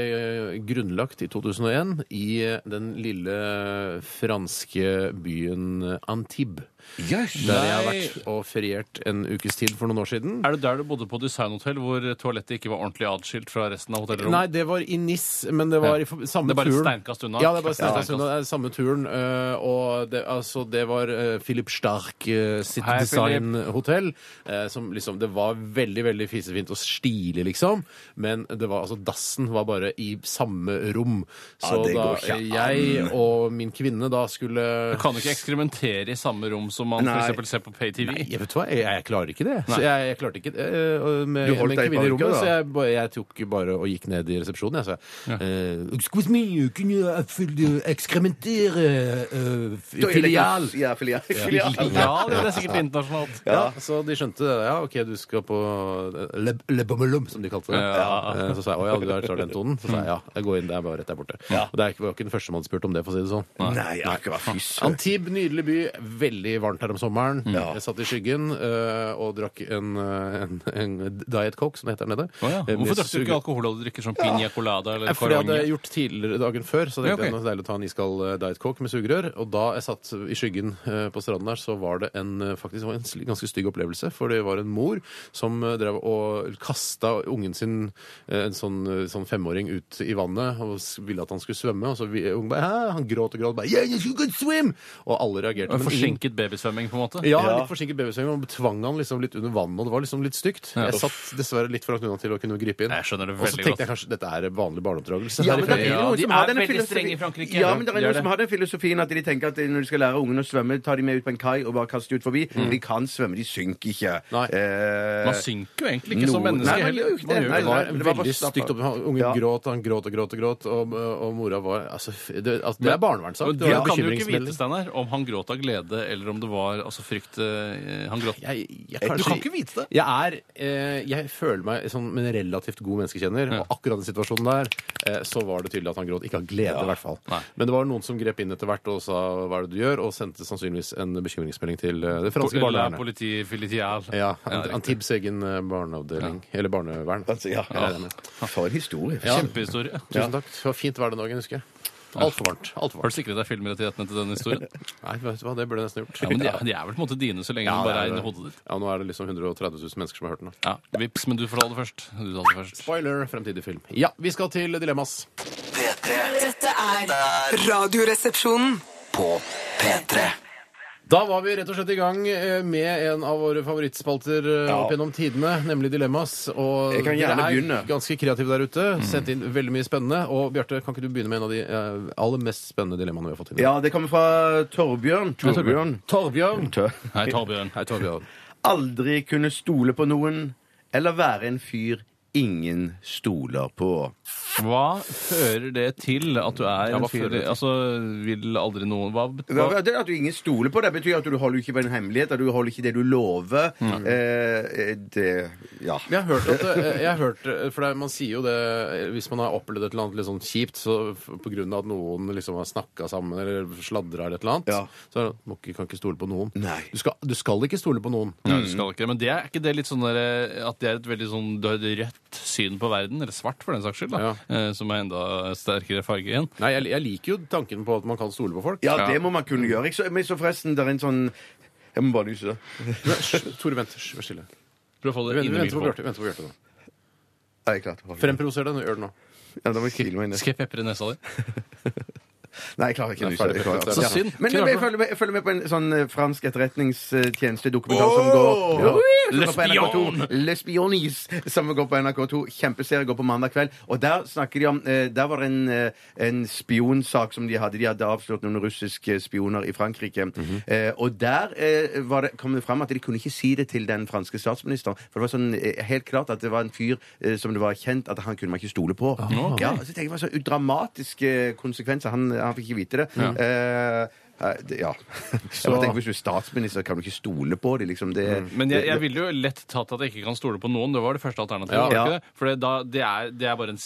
grunnlagt i 2001 i den lille franske byen Antibes. Der jeg har vært og feriert en ukes tid for noen år siden.
Er det der du bodde på designhotell, hvor toalettet ikke var ordentlig adskilt fra resten av
Nei,
hotellrommet?
det var i NIS, men det var i for- samme
Det er bare et
turen.
steinkast unna.
Ja, det er bare et steinkast
Ja.
unna. Det er samme turen. øh, og det, altså, det var øh, Philip Stark øh, sitt
Hei,
designhotell. øh, som liksom Det var veldig, veldig fisefint og stilig, liksom. Men det var altså Dassen var bare i samme rom. Så
det går
da
ikke
jeg og min kvinne da skulle
Du kan jo ikke ekskrementere i samme rom som man
Nei.
f.eks. ser på PayTV.
Nei, jeg vet hva, jeg, jeg klarer ikke det. Så
Nei.
jeg, jeg klarte ikke øh, med,
Du holdt
med
deg i
kvinne i
banken,
rommet,
da.
så jeg, bare- jeg tok bare og gikk ned i resepsjonen. Jeg sa eh, Excuse me, you can you ekskrementere eh,
Da er det-
filial?
Ja, filial. filial.
Ja, det er sikkert internasjonalt.
Ja, Så de skjønte det. Ja, OK, du skal på eh, Le, le Bommelum, som de kalte det.
Ja.
Eh, Så sa jeg å ja, du er- tar den tonen? Så sa jeg ja, jeg går inn, det er bare rett der borte. Og det er ikke, var ikke den første man spurte om det, for å si det sånn.
Nei, akkurat. Fy søren.
Antibes, nydelig by. Veldig varmt her om sommeren.
Mm.
Jeg satt i skyggen eh, og drakk en, eh, en, en Diet Coke, som det heter der nede.
Å ja.
Eh, med
Hvorfor drakk du
suge-
ikke alkohol da du drikker sånn piña colada eller
fordi eh, jeg hadde
corogne?
gjort tidligere dagen før, så tenkte
Ja, ok.
jeg det var deilig å ta en iskald eh, Diet Coke med sugerør. Og da jeg satt i skyggen eh, på stranden der, så var det en, eh, faktisk var det en sli- ganske stygg opplevelse. For det var en mor som eh, drev og kasta ungen sin, eh, en sånn, eh, sånn femåring, ut i vannet og s- ville at han skulle svømme. Og så vi- ungen bare Hæ? Han gråt og gråt. Bare, yeah, you can swim! Og alle reagerte. men ingen-
Forsinket babysvømming, på en måte?
ja, litt forsinket babysvømming. Man tvang han liksom litt under vannet, og det var liksom litt stygt.
Ja.
Jeg satt dessverre litt for langt unna til å kunne gripe inn.
Jeg skjønner det
Og så
veldig
tenkte
godt.
jeg kanskje dette er vanlig barneoppdragelse.
Ja,
her i
men det
Norge.
er
Ja,
noen
de
som har
er
denne
veldig
filosofi-
strenge i Frankrike.
Ja, men det er
De er
noen som
det.
har den filosofien at de tenker at når de skal lære ungene å svømme, tar de med ut på en kai og bare kaster de ut forbi. De kan svømme, de synker ikke.
Nei.
Eh,
Man synker jo egentlig ikke som
noen-
menneske
Nei, man gjør
heller.
jo ikke
Man gjør
det.
Det
jo
Nei,
var
nei, det var
veldig
bare
stygt opp. Han- Ungen
Ja.
gråt, han gråt og gråt og gråt, og, og mora var altså, det, altså, det er barnevernssak.
Og
Det var
du kan jo ikke vite,
bekymringsmelding.
Steinar, om han gråt av glede, eller om det var altså, frykt eh, han gråt.
Jeg, jeg,
Du
kanskje-
kan ikke vite det.
Jeg er eh, Jeg føler meg som en relativt god menneskekjenner, og akkurat den situasjonen der, eh, så var det tydelig at han gråt. Ikke av glede, i hvert fall.
Nei.
Men det var noen som grep inn etter hvert og sa hva er det du gjør, og sendte sannsynligvis en bekymringsmelding til eh, det franske
Eller
barnevernet.
politi, filitial.
Ja,
riktig.
Antibes egen eh, barneavdeling. Eller barnevern.
Altså, ja.
Jeg regner med.
For en historie.
Kjempehistorie.
Tusen takk. Det var fint hver den dagen, husker jeg. Altfor varmt. Alt for
Har
varmt.
du sikret deg filmrettighetene til denne historien?
Nei, vet du hva, det burde jeg nesten gjort.
Ja, men de, er- de er vel på en måte dine så lenge
Ja, det
de bare
er
er inni
det.
hodet ditt.
Ja, nå er det liksom 130 000 mennesker som har hørt den. da.
Ja, Vips, men du får ta det først. Du tar det først.
Spoiler, fremtidig film. Ja, vi skal til Dilemmas.
Dette er Radioresepsjonen.
På P3
Da var vi rett og slett i gang eh, med en av våre favorittspalter eh, opp gjennom tidene, nemlig Dilemmas. Og
Jeg kan
dere
gjerne
er
begynne. Mm.
ganske kreative der ute. Sendt inn veldig mye spennende. Og Bjarte, kan ikke du begynne med en av de eh, aller mest spennende dilemmaene vi har fått inn?
Ja, det kommer fra Torbjørn. Torbjørn.
Torbjørn.
Tør.
Hei, Torbjørn.
Hei, Torbjørn.
Aldri kunne stole på noen, eller være en fyr ingen stoler på.
Hva fører det til at du er
hva
en
fører
fyr
det til?
Altså, vil aldri noen Hva,
Hva-
hva
hva- Det at du ingen stoler på deg, betyr at du holder ikke på en hemmelighet. At du holder ikke det du lover. Eh, eh, det Ja.
Men Jeg har hørt at det, jeg har hørt, det, for det, er- Man sier jo det eh, hvis man har opplevd et eller annet litt sånn kjipt så f- på grunn av at noen liksom har snakka sammen eller sladra eller et eller annet.
Ja.
Så er det, man ikke- kan ikke stole på noen.
Nei.
Du, skal, du skal ikke stole på noen.
Nei, du skal ikke det. Men det er ikke det litt sånn der, eh, at det er et veldig sånn du har et rødt syn på verden, eller svart for den saks skyld, da, eh, som er enda sterkere farge igjen.
Nei, jeg, jeg liker jo tanken på at man kan stole på folk.
Ja, det må man kunne gjøre. Ikke så- Men så forresten, det er en sånn Jeg må bare nyse.
Men, hysj, Tore, vent. hysj, Vær stille.
Prøv å
Vi
få det
venter,
inn
vi
i
venter på
mikrofonen.
Bjarte. venter på Bjarte nå.
Er jeg klar til å holde?
Fremprovoser det. nå, Gjør det nå.
Ja, da må jeg kile meg ned.
Skal jeg pepre nesa di?
Nei, jeg klarer ikke å nyse.
ferdig.
Jeg klarer ikke.
Så
Ja.
synd.
Men jeg følger, med, jeg følger med på en sånn eh, fransk etterretningstjenestedokumentar som går ja. som går på
Lespion!
NRK2. Lespionis, som går på NRK2. Kjempeserie, går på mandag kveld. Og der snakker de om eh, Der var det en, eh, en spionsak som de hadde. De hadde avslørt noen russiske spioner i Frankrike.
Mhm.
eh, og der eh, var det, kom det fram at de kunne ikke si det til den franske statsministeren. For det var sånn eh, helt klart at det var en fyr eh, som det var kjent at han kunne man ikke stole på. Ja, så tenker jeg på så dramatiske eh, konsekvenser. Han, han fikk ikke vite det. Eh, eh, det- ja. Jeg bare tenker, Hvis du er statsminister, kan du ikke stole på det, liksom. Det,
Men jeg, jeg ville jo lett tatt at jeg ikke kan stole på noen. Det var det første alternativet.
Ja.
var det ikke
Ja.
det? For det, da, det, er, det er bare en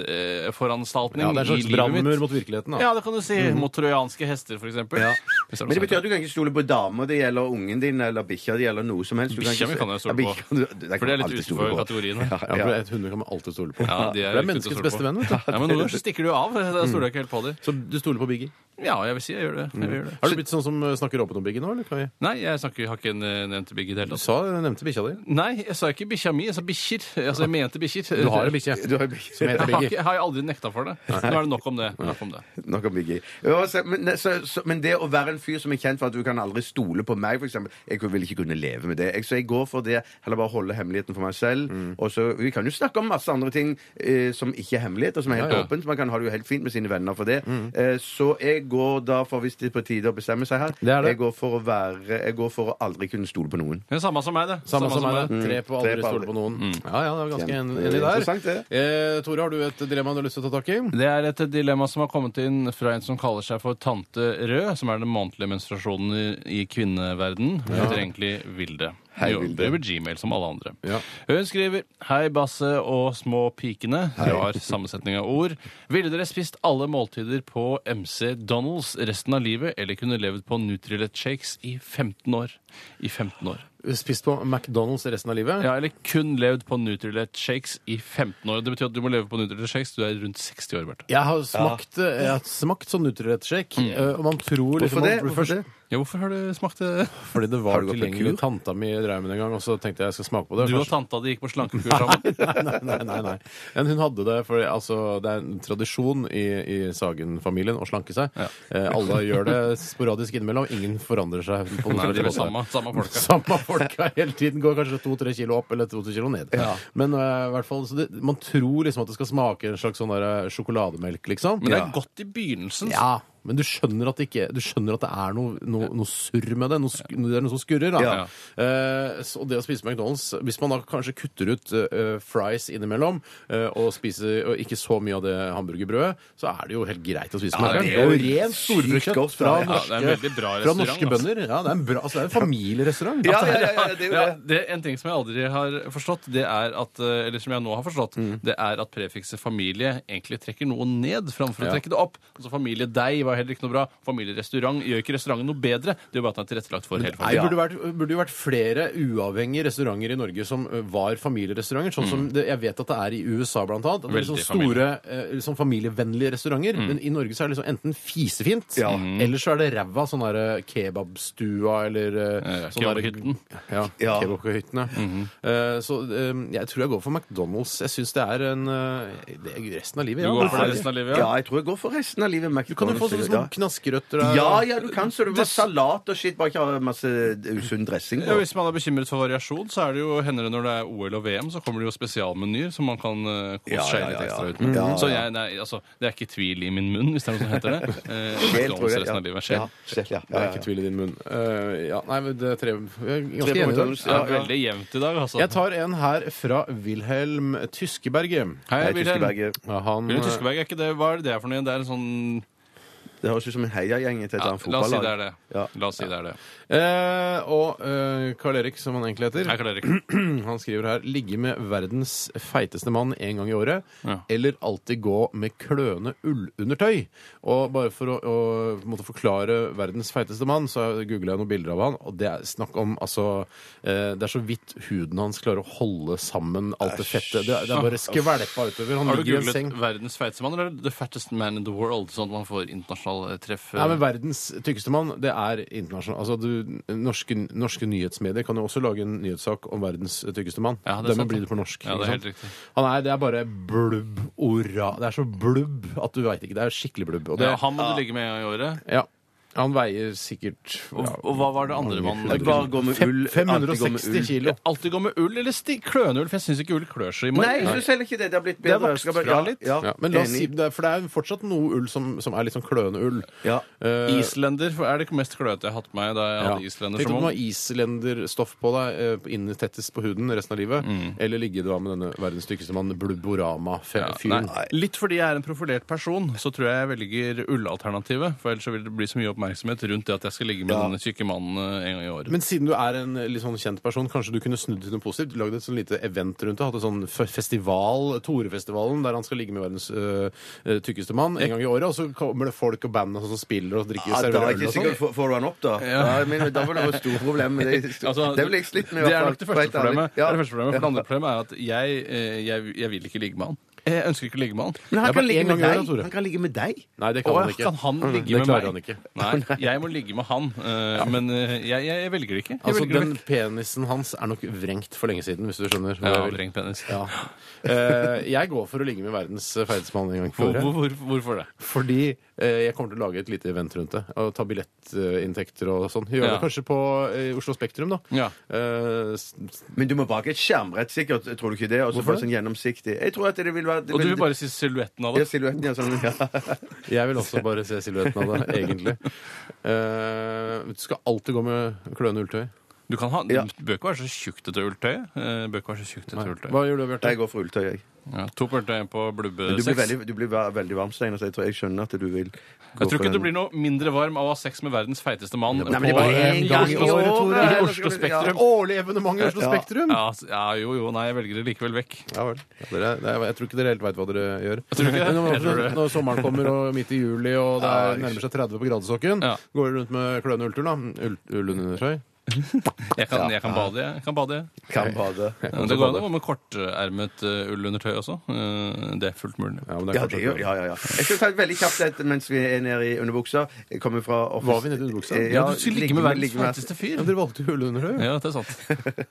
sikkerhetsforanstaltning
Ja, det er en
i
slags
livet
brannmur
mitt.
mot virkeligheten. Da. Mhm.
Ja, det kan du si. Mot trojanske hester, for eksempel. Hvis er sånn noe
Men det
sånt.
betyr at du kan ikke stole på dama di eller ungen din eller bikkja di eller noe som helst. Du
Bikkja mi
ikke-
kan jeg stole
Ja,
på.
bikkja kan du- den kan
For det er litt
alltid stole
utenfor
på.
kategorien.
Ja,
Ja,
ja.
for et Hunder kan man alltid stole på.
Ja, de
det
er
er
riktig å
menneskets
stole på.
beste venn. vet du.
Ja, men noen ganger så stikker du av. Da stoler jeg ikke helt på dem.
Så du stoler på Biggie.
Ja, jeg vil si jeg gjør det. Jeg gjør det.
Mm. Har du blitt sånn som eh, snakker åpent om Biggie nå? eller kan vi?
Nei, jeg snakker, har ikke en, eh, nevnt Biggie i det
Du
hele tatt.
sa nevnte bikkja di.
Nei, jeg sa ikke bikkja mi, jeg sa bikkjer. Altså, jeg mente bikkjer.
Ah. Du har en bikkje
Du har bikkje.
som heter
Jeg har,
Biggie.
ikke, har jeg aldri nekta for det. Nå er det nok om det. Nok om det.
Nok om Biggie. Ja, så- Men, det- så, så, men det å være en fyr som er kjent for at du kan aldri stole på meg, for eksempel Jeg vil ikke kunne leve med det. Jeg, så jeg går for det. Heller bare holde hemmeligheten for meg selv.
Mm.
Og så, Vi kan jo snakke om masse andre ting eh, som ikke er hemmeligheter, som er helt
Ja, Mm. ja.
åpent. Man kan ha det jo helt fint med sine venner for det. Eh, så jeg går da for, hvis det er på tide å bestemme seg her,
Det er det.
jeg går for å være Jeg går for å aldri kunne stole på noen.
Det er samme som meg, det.
Samme som meg, det.
meg.
Tre på aldri
Tre på
stole på noen. Ja, ja, det var ganske en-
Kjempe-
enig
interessant,
der.
det.
Eh, Tore, har du et dilemma du har lyst til å ta tak i?
Det er et dilemma som har kommet inn fra en som kaller seg for Tante Rød, som er den månedlige menstruasjonen i, i kvinneverden. Hun heter egentlig Vilde.
Hei,
Jo,
Vilde.
Driver Gmail som alle andre.
Ja.
Hun skriver Hei, Basse og små pikene. Du har sammensetning av ord. Ville dere spist alle måltider på MC Donalds resten av livet, eller kunne levd på Nutrilett Shakes i 15 år? I 15 år.
Spist på McDonald's resten av livet?
Ja, eller kun levd på Nutrilett Shakes i 15 år. Det betyr at du må leve på Nutrilett Shakes. Du er rundt 60 år, Bjarte.
Jeg har smakt, eh, jeg har smakt sånn Nutrilett-sjekk, eh, og man tror liksom
Hvorfor det?
man-
Hvorfor det?
Ja, hvorfor har du smakt det?
Fordi det
Har
var
du gått på
tilgjengelig.
kur?
Tanta mi drev med det en gang, og så tenkte jeg jeg skal smake på det.
Du og
Kanskje-
tanta di gikk på slankekur sammen?
Nei, nei, nei, nei. Men hun hadde det, for altså, det er en tradisjon i, i Sagen-familien å slanke seg. Eh, alle gjør det sporadisk innimellom. Ingen forandrer seg. På
Nei,
noen
de var
måte.
samme, samme folka.
Samme folka hele tiden. Går kanskje to-tre kilo opp eller to-tre kilo ned. Men eh, i hvert fall, så det, man tror liksom at det skal smake en slags sånn der, eh, sjokolademelk, liksom.
Men det er godt i begynnelsen.
Ja, men du skjønner at det, ikke, du skjønner at det er noe, noe, noe surr med det. Noe, sk- det er noe som skurrer. da.
Ja.
Eh, så det å spise McDonald's Hvis man da kanskje kutter ut eh, fries innimellom, eh, og spiser og ikke så mye av det hamburgerbrødet, så er det jo helt greit å spise
Ja,
McDonald's.
det
Det
er
er
jo
jo rent
sykt godt
storbrukskjøtt fra
fra- Ja,
det er
norske,
en veldig
fra
bra restaurant,
norske
altså.
bønder. Ja, det er en, bra, altså, det er en familierestaurant. Altså,
Ja, ja, ja, ja, det er jo
Ja,
det.
det, en ting som jeg aldri har forstått, det er at, eh, eller som jeg nå har forstått, det er at prefikset familie egentlig trekker noe ned framfor å trekke det opp. Altså familie deg var heller ikke noe bra. Familierestaurant gjør ikke restauranten noe bedre. Det gjør bare at den er tilrettelagt for
Nei,
hele
det
familien.
burde, vært, burde jo vært flere uavhengige restauranter i Norge som ø, var familierestauranter. Sånn som det, jeg vet at det er i USA, blant annet. At det er
Veldig
liksom store, eh, liksom familievennlige restauranter. Men i Norge så er det liksom enten fisefint, Mm. eller så er det ræva. Sånn der eh, kebabstua eller eh,
Eh,
sånn der-
kebabhytten.
Ja.
Ja.
Kebabhyttene. Eh, Så eh, jeg tror jeg går for McDonald's. Jeg syns det er en eh, det er Resten av livet,
Du
ja.
går for det resten av livet,
Ja,
ja?
jeg tror jeg går for resten av livet.
Du kan jo få sånne små knaskerøtter der.
Ja, ja, du kan så du har salat og shit, bare ikke ha masse usunn dressing
Ja,
på.
hvis man er bekymret for variasjon, så er det jo, hender det når det er OL og VM, så kommer det jo spesialmenyer som man kan eh, kose
Ja,
seg
ja, ja,
litt
ja.
ekstra ut med.
Ja, ja.
Så jeg, nei, altså, det er ikke tvil i min munn, hvis det er noe som heter det. Eh,
Sjel, tror
McDonald's
jeg.
resten av livet. Sjel.
Ja, sjel,
Det
ja. Ja,
er
ja,
ikke tvil i din munn. Eh, ja, nei, men det er tre, jeg er
Tre
ganske
på
enig i det.
McDonald's,
Det
ja,
er veldig jevnt i dag, altså.
Jeg tar en her fra Wilhelm Tyskeberget.
Hei,
Hei,
Wilhelm.
Tyskeberget.
Ja, Han,
Wilhelm Tyskeberg, er ikke det, hva er det det er for noe? Det er en sånn
Det høres ut som en heiagjeng til et
ja,
eller annet
La oss si det er
fotballag.
det.
Ja.
La oss si det er det.
eh, og eh, Karl Erik, som han egentlig
Hei,
heter,
Karl Erik.
han skriver her 'Ligge med verdens feiteste mann en gang i året',
Ja.
eller alltid gå med kløne ullundertøy. Og bare for å, å på en måte forklare verdens feiteste mann, så googla jeg noen bilder av han, og det er snakk om altså eh, Det er så vidt huden hans klarer å holde sammen alt det fettet. Det, er- det er bare skvelpa utover. Han
Har du
ligger i en
googlet
seng.
'verdens feiteste mann' eller 'the fattest man in the world'? Sånn at man får internasjonal eh, treff. eh,
Nei, men Verdens tykkeste mann, det er internasjonal. Altså, du, norske, norske nyhetsmedier kan jo også lage en nyhetssak om verdens tykkeste mann.
Ja, det er
Dermed
sant,
blir
det.
det på norsk.
Ja, det er
ikke sant?
helt riktig.
Han er, det er bare blubb orra. Det er så blubb at du veit ikke. Det er skikkelig blubb. Og det,
ja, han må du ligge med en gang i året.
ja, han veier sikkert
Og,
ja,
og hva var det andre man
Det er Bare gå med ull. alltid gå med
560
ull.
kilo.
Alltid gå med ull eller sti kløneull, for jeg syns ikke ull klør så
Nei,
innmari.
jeg syns heller ikke det. Det har blitt bedre.
Det har vokst
Skal bare-
fra
ja,
litt.
Ja,
Ja, men la oss
enig.
si, det er- For det er fortsatt noe ull som, som er litt sånn kløende ull.
Ja.
Eh,
Islender for- er det mest kløete jeg har hatt på meg da jeg hadde islender
Tenk
som
om du
ung.
har islenderstoff på deg eh, inne tettest på huden resten av livet,
Mm.
eller ligge da med denne verdens styggeste mann,
Ja,
Blubborama-fyren.
nei. Litt fordi jeg er en profilert person, så tror jeg jeg velger ullalternativet. For ellers så vil det bli så mye oppmerksomhet rundt det at jeg skal ligge med denne tykke mannen eh, en gang i året.
men siden du er en eh, litt sånn kjent person, kanskje du kunne snudd til noe positivt? Lagd et sånn lite event rundt det? Hatt en sånn f- festival, Torefestivalen, der han skal ligge med verdens øh, øh, tykkeste mann en gang i året, og så kommer det folk og band og sånn som spiller og drikker
Ja, Ah, da er
serverer
jeg
øl
ikke
og sånn.
sikkert får- Får du han opp, da? Ja. men, da vil det være et stort problem. men Det,
Altså,
det vil jeg slitt med.
det
i hvert
er
fall,
nok det
for
første
helt ærlig.
problemet. Det
Ja.
er det første problemet. For det andre problemet er at jeg, eh, jeg, jeg vil ikke ligge med han. Jeg ønsker ikke å ligge med han.
Men han
Det er
kan
bare
ligge
en
med
gang i året,
deg.
Tore.
Han kan ligge med deg.
Nei, det kan
Åh,
han ikke.
kan han ligge
det
med meg?
klarer han ikke.
Nei, jeg må ligge med han. eh, Men eh, jeg, jeg, jeg velger det ikke. Jeg
Altså,
velger det
den
vekk.
penisen hans er nok vrengt for lenge siden, hvis du skjønner. hva
Ja,
jeg vil.
vrengt penis.
Ja. Eh, jeg går for å ligge med verdens feiteste mann en gang for året.
Hvor, hvor, hvor, hvorfor det?
Fordi eh, Eh, Jeg kommer til å lage et lite event rundt det. Og ta billettinntekter og sånn. Gjøre
Ja.
det kanskje på eh, Oslo Spektrum, da.
Ja.
Eh, s-
Men du må bake et skjermbrett, sikkert. Tror du ikke det? Og så bare sånn gjennomsiktig. Jeg tror at det vil være det
Og du vil
vil-
bare si silhuetten av
ja,
det.
silhuetten, ja, sånn, ja.
Jeg vil også bare se silhuetten av det, egentlig. Eh, du skal alltid gå med kløende ulltøy.
Du kan ha,
Ja.
du bør ikke være så tjukt etter ulltøyet. Eh, Bør ikke være så tjukt etter ulltøyet.
Hva gjør du, Bjarte?
Jeg går for ulltøy, jeg.
Ja, to på ulltøy, en på
Men Du blir
blubbesex.
veldig, du blir ve- veldig varm, Steinar, så jeg tror jeg skjønner at du vil
Jeg tror ikke du blir noe mindre varm av å ha sex med verdens feiteste mann.
Nei, men det er
på-
bare en gang i
Oslo-
året, Tore.
sånn. i
Nå skal
Oslo
vi-
Spektrum.
Årlig evenement i Oslo
Ja.
Spektrum!
Ja, s- ja, jo, jo, nei, jeg velger det likevel vekk.
Ja vel. Ja, dere, det er, jeg tror ikke dere helt veit hva dere gjør.
tror ikke det.
Men
Jeg tror det.
Når, når sommeren kommer og midt i juli og det
Ja,
er, nærmer seg 30 på gradestokken,
Ja.
går dere rundt med kløende ulltur, da. Ull, ullundertøy.
Jeg kan, jeg kan bade, jeg. jeg. Kan bade, jeg.
Kan bade.
Men det går an å gå med kortermet eh, ullundertøy også. Eh, Det er fullt mulig.
Ja, men det er
Ja, det
kanskje-
gjør ja, ja, ja. Jeg skal ta et veldig kjapt et mens vi er nede i underbuksa. Jeg kommer fra office...
Var vi nede i underbuksa?
Eh,
Ja, du skulle ligge med verdens
ligge med-
feiteste fyr.
Ja, dere valgte jo ullundertøy.
Ja, det er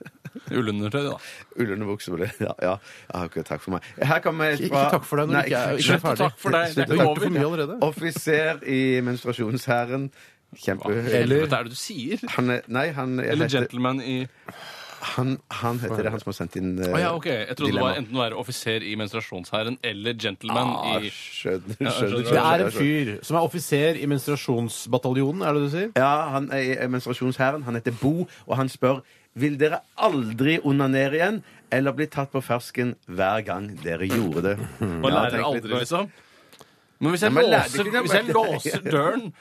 sant. Ullundertøy, da.
Ullunderbukse var det. Ja, ja. ja ok, takk for meg. Her kommer jeg
Ikke-
fra
ikke takk for deg når du ikke er- ikke er
Slutt å
ferdig.
takke for deg. Det
Du
er
har
ikke
gjort det for mye
over.
allerede.
Offiser i menstruasjonshæren. Kjempe...
Eller Hva er det du sier?
Han er, nei, han
Eller
heter,
gentleman i
Eh, han, han heter det, han som har sendt inn eh-
Å ja, ok. Jeg trodde det var enten å være offiser i menstruasjonshæren eller gentleman
ah,
i
skjønner,
Ja,
skjønner,
skjønner.
skjønner,
Det er en fyr som er offiser i menstruasjonsbataljonen, er det du sier?
Ja, han er i menstruasjonshæren. Han heter Bo, og han spør vil dere aldri onanere igjen eller bli tatt på fersken hver gang dere gjorde det.
Man lærer
Ja, tenk litt.
aldri, liksom. Men hvis jeg,
Ja, men lærer
låser,
ikke det,
hvis jeg
men-
låser døren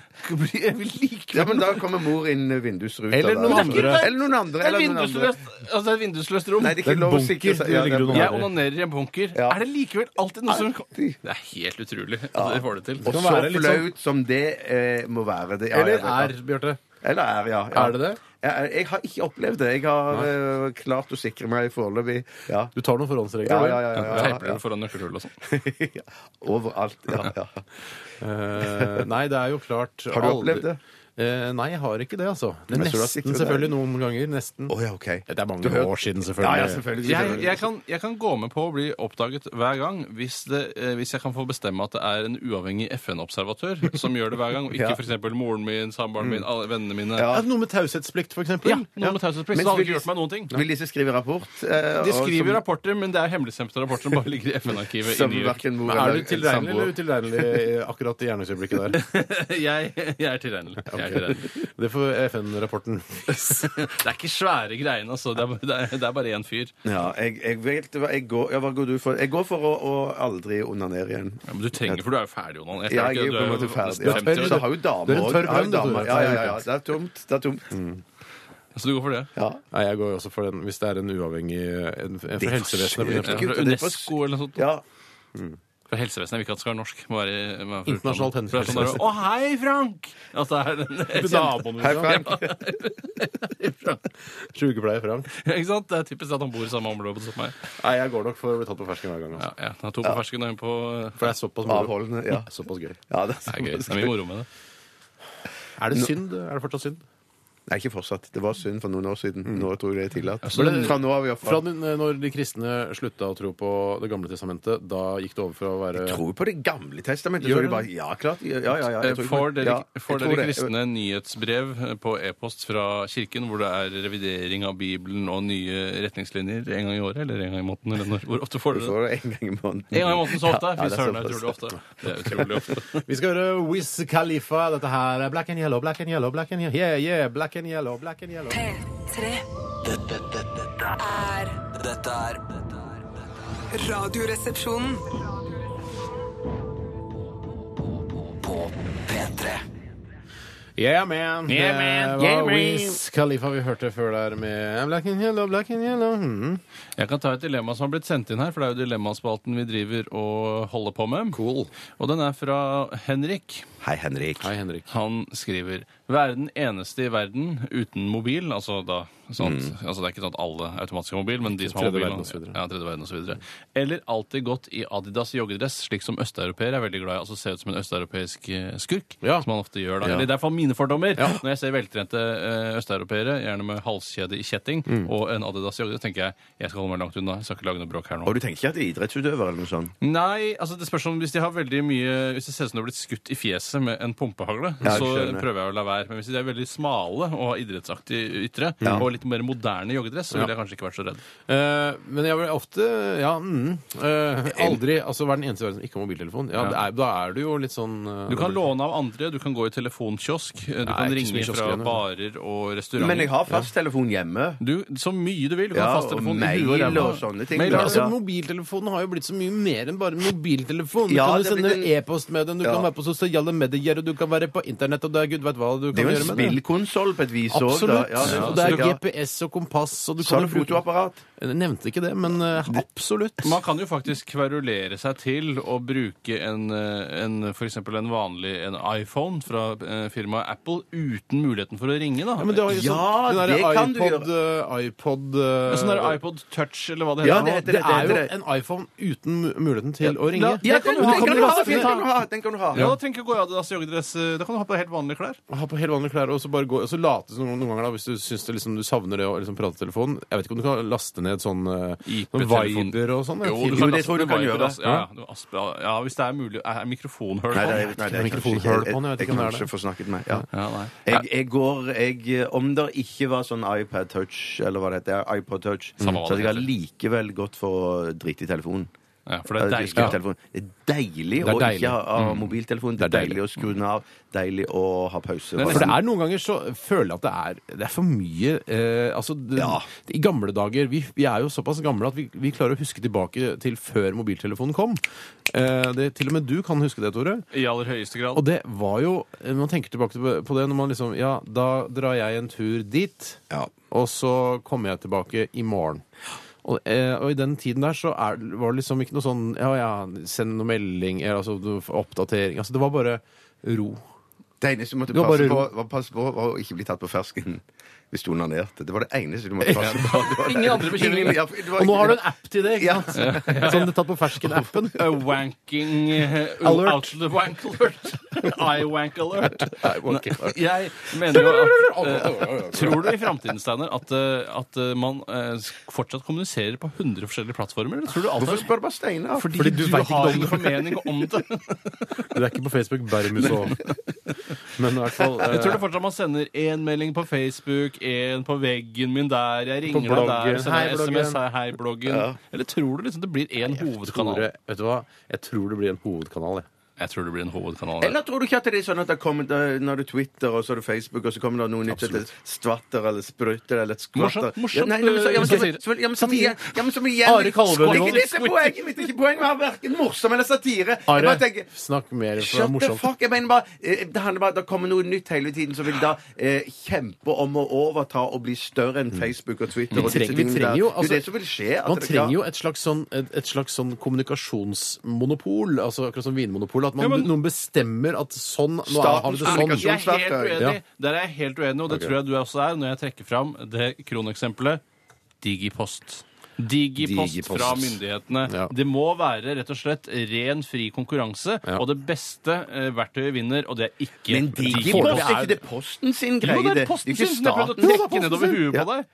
Jeg vil like
Ja, men da kommer mor inn vindusruta.
Eller
da.
noen andre.
Eller noen andre.
Det er
Eller noen andre.
vindusløst, altså det er et vindusløst rom.
Nei, det er ikke
en
lov å
bunker
sikre seg.
du ligger under.
det
Jeg
er-
Aldri.
onanerer i en bunker.
Ja.
Er det likevel alltid noe som
Alltid.
Det er helt utrolig at dere får det til.
Og
kan
så
være litt sånn-
flaut som det eh, må være det. Ja, ja,
Eller
det-
er, Bjarte?
Eller er, ja. ja.
Er det det?
Jeg, jeg har ikke opplevd det. Jeg har eh, klart å sikre meg foreløpig. Ja.
Du tar noen forhåndsregler?
Ja,
du?
ja, ja, ja, ja,
Teiper
ja.
den foran nøkkelhull og sånn.
Overalt. Ja, ja.
Eh, nei, det er jo klart
Har du
aldri-
opplevd det?
Eh, nei, jeg har ikke det, altså. Det er
Men jeg tror du har
nesten,
sikret deg.
selvfølgelig, noen ganger. Nesten.
Å ja, OK.
Det er mange
Du hørte-
år siden,
Ja,
selvfølgelig.
ja, selvfølgelig.
Jeg, jeg, kan, jeg kan gå med på å bli oppdaget hver gang hvis, det, eh, hvis jeg kan få bestemme at det er en uavhengig FN-observatør som gjør det hver gang, og ikke
Ja. Mm.
for f.eks. moren min, samboeren min, alle vennene mine.
Ja.
Er det noe med taushetsplikt, for eksempel?
Ja, noe med taushetsplikt.
Men
Så hadde
vil
ikke
de-
gjort meg noen ting.
Vil disse skrive rapport? eh,
De
og
skriver
som,
rapporter, men det er hemmeligstempte rapporter som bare ligger i FN-arkivet. i
som
New York.
hverken mor
Men er du
eller
tilregnelig eller
samboer
utilregnelig eh, akkurat i gjerningsøyeblikket der?
Jeg, jeg er tilregnelig. Jeg er tilregnelig.
Det får FN-rapporten.
Det er ikke svære greiene, altså. Det er, det er, det er bare én fyr.
Ja, jeg, jeg vet hva jeg går, ja, hva går du for? Jeg går for å, å aldri onanere igjen.
Ja, men du trenger, for du er jo ferdig, Jonan.
Ja, jeg er jo på en måte ferdig. Ja. Så har jo
Du er
damer
en
også-
tørr
jeg har jo
bønn, du,
damer.
Tore.
Ja, ja, ja, ja. Det er tomt. Det er tomt.
Så du går for det?
Ja.
Nei, jeg går jo også for den hvis det er en uavhengig en, en For helsevesenet, for
Ja,
eksempel.
Fra
Gud, det er for-
UNESCO eller noe sånt?
ja.
For helsevesenet vil ikke at det skal være norsk. Må være, må være fra
Internasjonalt
utlandet. For det er sånn der,
helsevesen.
Å, hei, Frank! At det er den naboen
Hei, Frank.
Sjukepleier Frank.
Ikke sant? Det er typisk at han bor i samme område som meg.
Nei, jeg går nok for å bli tatt på fersken hver gang.
Ja,
Altså.
ja. Han har to på fersken og en på
For det er såpass moro.
Avholdende. Ja.
Såpass gøy.
ja det
Det
er
er gøy. Det er mye moro med det.
Er det synd? Er det fortsatt synd?
Nei, ikke fortsatt. Det var synd for noen år siden. Nå tror jeg det er tillatt.
så det-
Fra nå av,
Fra
iallfall.
den, når de kristne slutta å tro på Det gamle testamentet, da gikk det over fra å være
Jeg tror på Det gamle testamentet.
Gjør
Tror de
det?
bare, ja, klart. Ja, ja, ja. Jeg tror ikke-
Eh, Får dere,
ja, jeg
får
tror
dere
det.
kristne nyhetsbrev eh, på e-post fra kirken hvor det er revidering av Bibelen og nye retningslinjer en gang i året eller en gang i måneden? Eller når, hvor ofte får
Du
dere det?
får det en gang i måneden.
En gang i måneden så ofte?
Ja, ja,
Fy
det er
søren, det er
såpass.
utrolig ofte. Det er utrolig ofte.
Vi skal høre Wiz Khalifa. Dette her er Black and Yellow, Black and Yellow, Black and Yellow. Yeah, yeah, Black and Yellow, Black and Yellow.
P3
Dette, dette, dette,
er
er- dette er dette er-
Radioresepsjonen.
På P3
Yeah, man.
Yeah, man.
Det
Yeah,
var
man.
Wiz Khalifa vi hørte før der med Black and Yellow, Black and Yellow. Mhm.
Jeg kan ta et dilemma som har blitt sendt inn her, for det er jo dilemmaspalten vi driver og holder på med. Cool. Og den er fra Henrik.
Hei, Henrik.
Hei, Henrik.
Han skriver Være den eneste i verden uten mobil. Altså, da, sånn at, altså det er ikke sånn at alle automatisk har mobil, men de som
Mm.
har
Tredje
mobil
verden og så videre.
ja, tredje verden og så videre. Eller alltid gått i Adidas joggedress, slik som østeuropeere er veldig glad i. Altså se ut som en østeuropeisk eh, skurk,
Ja.
som man ofte gjør da.
Ja.
Eller det er iallfall mine fordommer. Når jeg ser veltrente eh, østeuropeere, gjerne med halskjede i kjetting,
Mm.
og en Adidas joggedress, tenker jeg jeg skal holde meg langt unna. Jeg skal ikke lage noe bråk her nå.
Og du tenker ikke at det er idrettsutøver eller noe sånt?
Nei, altså det spørs om hvis de har veldig mye Hvis det ser ut som de har blitt skutt i fjeset, fjeset med en pumpehagle,
Ja, jeg
så
skjønner.
prøver jeg å la være. Men hvis de er veldig smale og har idrettsaktig ytre, og litt mer moderne joggedress, så ville jeg kanskje ikke vært så redd.
Eh, men jeg vil ofte Ja, mm, eh, aldri altså være den eneste i verden som ikke har mobiltelefon. Ja, det er, da er du jo litt sånn eh,
Du kan
da blir-
låne av andre, du kan gå i telefonkiosk, eh, du kan
ikke så mye
ringe fra
kiosker igjen,
barer og restauranter.
Men jeg har fasttelefon hjemme.
Du, så mye du vil. Du kan
Ja,
ha
og
fasttelefon i
mail
huet og ræva.
og sånne ting.
Mail,
Ja.
altså,
Altså, Mobiltelefonen har jo blitt så mye mer enn bare mobiltelefon. Du
Ja,
kan jo
det blir
sende
det-
e-post med den, du
Ja.
kan være på sosiale medier, og du kan være på internett, og det er gud vet hva du
Det
kan
er jo
gjøre med
en
det.
spillkonsoll på et vis òg.
Absolutt.
Ja, det er
Og det er
sånn, ja.
GPS og kompass, og du
Så har
kan
du
jo bruke-
fotoapparat.
Jeg nevnte ikke det, men eh, absolutt.
Man kan jo faktisk kverulere seg til å bruke en, eh, en, for eksempel en vanlig en iPhone fra eh, firmaet Apple uten muligheten for å ringe, da.
Ja, men det har jo
Ja,
sånn, den
det
der
kan du
iPod, eh, iPod eh,
Ja, sånn der iPod Touch, eller hva det
Ja,
heter.
det
Det er
nå.
heter det
jo
heter det.
en iPhone uten mu- muligheten til å ringe.
Ja, den kan du ha, den kan du ha, den kan du ha, den kan du ha.
Ja, da trenger du ikke å gå i Adidas joggedress. eh, Da kan du ha på deg helt vanlige klær.
Ha på helt vanlige klær og så bare gå, og så late som noen ganger da, hvis du syns det liksom, du savner det å liksom, prate i telefonen. Jeg vet ikke om du kan laste ned sånn eh, noen
IP-telefon.
Viber og sånn?
Jo, du
Jo,
kan
det
laste
tror
på
jeg du kan
Viber,
gjøre.
ass. Ja, ja, du- asp- ja, ja, hvis det er mulig. Er mikrofonhull
Nei,
på?
det er-
den?
nei, det er kanskje
Mikrofonhull
ikke-
på den, jeg vet
jeg-
ikke om det er
Jeg
det.
kan ikke få snakket med ja.
Ja, nei.
Jeg, jeg går jeg, Om det ikke var sånn iPad Touch, eller hva det heter, iPod Touch,
Samme hva
så hadde
det
jeg
heter.
likevel gått for å drite i telefonen.
Ja, for det er
Ja,
deilig.
skrive i telefonen. Det er deilig å
deilig.
ikke ha ha mobiltelefon. Det er deilig å skru den av. Deilig å ha pause.
er
Bare- sånn
For det er noen ganger så føler jeg at det er, det er for mye eh, Altså, det,
Ja.
i gamle dager vi, vi er jo såpass gamle at vi, vi klarer å huske tilbake til før mobiltelefonen kom. Eh, det, til og med du kan huske det, Tore.
I aller høyeste grad.
Og det var jo Når man tenker tilbake til- på det når man liksom Ja, da drar jeg en tur dit,
Ja.
og så kommer jeg tilbake i morgen. Og, eh, og i den tiden der så er, var det liksom ikke noe sånn Ja, ja, send noe melding, eller altså du får oppdatering Altså det var bare ro.
Det eneste du måtte
var
passe
bare
på, var, passe på var å ikke bli tatt på fersken hvis du onanerte. Det var det eneste du måtte passe på. Det var det-
Ingen andre bekymringer.
Ingen- ja, det var
Og nå
ikke-
har du en app til det,
Ja.
ikke sant? Som du har Sånn tatt på fersken-appen.
A wanking eh,
Alert.
Outlet wank alert. I wank alert.
wank alert.
Jeg mener jo at eh, Tror du i framtiden, Steiner, at, eh, at eh, man eh, fortsatt kommuniserer på 100 forskjellige plattformer? Eller tror du alt
Hvorfor
er
spør du bare Steinar?
fordi,
Fordi
du,
du vet ikke
har
om
en
det.
formening om det.
Du er ikke på Facebook Bermus og Men i hvert fall eh,
Jeg tror det fortsatt man sender én melding på Facebook, én på veggen min der, jeg ringer
På
deg der,
bloggen. Hei,
sender
bloggen.
SMS, hei, hei, bloggen. Eller tror du liksom det blir én hovedkanal?
Tore, vet du hva? Jeg tror det blir en hovedkanal, jeg.
Jeg tror det blir en hovedkanal.
Eller tror du ikke at det er sånn at det kommer, eh, når du Twitter og så er det Facebook, og så kommer det noe nytt etter stvatter eller sprutter eller skvatter
Morsomt, morsomt,
Ja, nei, nei, men så- ja, men så-
satire.
så- ja, men som igjen- ja, men som igjen
Are Kalvø,
Det er
nå.
ikke det som er poenget mitt. Det er ikke poenget med å være hverken morsom eller satire. Jeg
Are,
bare tenker
snakk mer, for det er
Shut the
morsomt.
fuck, jeg mener bare eh, Det handler bare, det kommer noe nytt hele tiden som vil da eh, kjempe om å overta og bli større enn Facebook og Twitter. og disse
trenger- vi
tingene
trenger
der.
jo,
Det er
altså,
det som vil skje. at
Man
det-
trenger jo et slags, sånn, et, et slags sånn kommunikasjonsmonopol, altså akkurat som vinmonopol, at man,
Ja, men-
noen bestemmer at sånn Nå
Statens
har vi det
kommunikasjon-
sånn.
Jeg er helt uenig.
Ja.
Der er jeg helt uenig, og det tror jeg du også er, når jeg trekker fram det kroneksempelet Digipost. Digipost,
Digipost.
fra myndighetene.
Ja.
Det må være rett og slett ren, fri konkurranse, og det beste eh, verktøyet vinner, og det er ikke
Men Digipost,
Digipost.
er ikke det posten sin
Jo,
greie?
det er posten
ikke
sin som jeg prøvde
staten.
å trekke nedover huet på
Ja.
deg.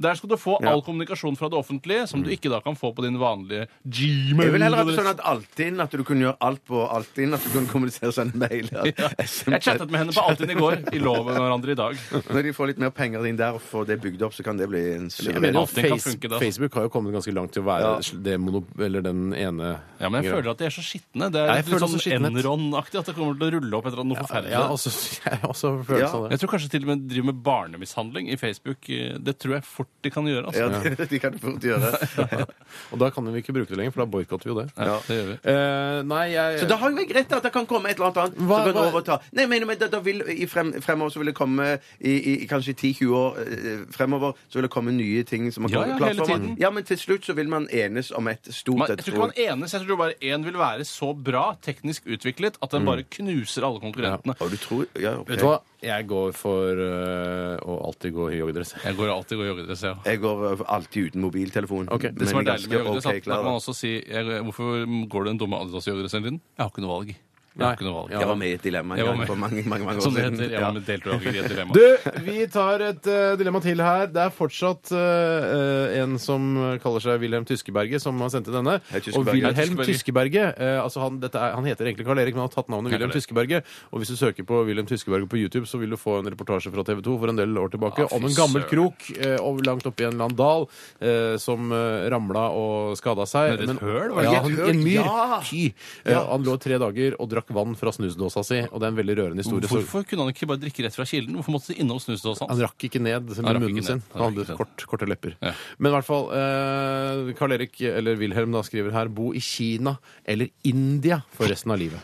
Der skal du få
Ja. Mm.
all kommunikasjon fra det offentlige, som du ikke da kan få på din vanlige
Jeg vil heller ha det
Gmail.
sånn at Altinn, at du kunne gjøre alt på Altinn, at du kunne kommunisere sånn mail. at SMS.
Jeg chattet med henne på Altinn i går. I lov med hverandre i dag.
Når de får litt mer penger inn der og får det bygd opp, så kan det bli en
Jeg
suveren
mener,
Alt det kan
face,
funke, det, altså.
Facebook har jo kommet ganske langt til å være det mono, eller den ene
Ja, men jeg
greia.
føler at de er så skitne. Det er
Ja, jeg
litt
føler også
sånn
skittenhet.
Enron-aktig at det kommer til å rulle opp et eller annet noe forferdelig.
ja, også, jeg har også sånn, følelsen
Ja.
av det.
Jeg tror kanskje til og med de driver med barnemishandling i Facebook. Det tror jeg fort de kan gjøre.
Ja,
altså.
det, de kan du fort gjøre.
Og da kan vi ikke bruke det lenger, for da boikotter vi jo det.
Ja, det gjør vi.
Eh, nei, jeg
Så da har jo jeg rett i at det kan komme et eller annet annet
Hva-
som kan
hva-
overta. Nei, jeg mener, men da, da vil i frem, Fremover så vil det komme i, i, i kanskje 10-20 år eh, fremover så vil det komme nye ting som man
Ja,
kommer
ja,
plattformer.
hele tiden.
Ja, men til slutt så vil man enes om et stort
Man,
et
jeg tror ikke man enes. Jeg tror bare én vil være så bra teknisk utviklet at den bare knuser alle konkurrentene.
Å, du tror Mm. Ja, OK.
Vet du hva? Jeg går for eh, å alltid gå i joggedress.
Jeg går alltid i joggedress, ja.
Jeg går eh, alltid uten mobiltelefon.
Ok, det
Det som er
Men jeg
deilig med
ganske
joggedress,
ok
er at man
klar.
kan også si jeg, Hvorfor går du den dumme Adidas-joggedressen din? Jeg har ikke noe valg. Jeg har ikke noe valg.
Jeg var med i et dilemma en
Jeg var
gang
med.
for mange, mange, mange år
Som det
siden.
heter. Jeg var med deltaker i et dilemma.
Du, vi tar et eh, dilemma til her. Det er fortsatt eh, en som kaller seg Wilhelm Tyskeberget, som har sendt inn denne.
Hei, Tyskeberget.
Og
Hei,
Wilhelm
Tyskeberget.
Tyskeberget eh, altså han, dette er, han heter egentlig Karl Erik, men han har tatt navnet Wilhelm
Karl-Erik.
Tyskeberget. Og hvis du søker på Wilhelm Tyskeberget på YouTube, så vil du få en reportasje fra TV 2 for en del år tilbake
Ah, fy
om en gammel
søren.
krok eh, og langt oppi en eller annen dal eh, som eh, ramla og skada seg.
Nede i et
Men-
høl, var det
Ja,
ikke?
han,
Et høl,
en myr.
ja.
Fy. Eh, Han lå tre dager og drakk vann fra snusdåsa si, og det er en veldig rørende historie. så-
Hvorfor kunne han ikke bare drikke rett fra kilden? Hvorfor måtte de innom sånn? snusdåsa
han
hans?
rakk ikke ned
Han
med
rakk
munnen
ikke
sin.
ned. Han
Han
rakk
hadde
ikke ned.
kort, korte lepper.
Ja.
Men i hvert fall eh, Karl Erik, eller Wilhelm, da, skriver her bo i Kina eller India for resten av livet.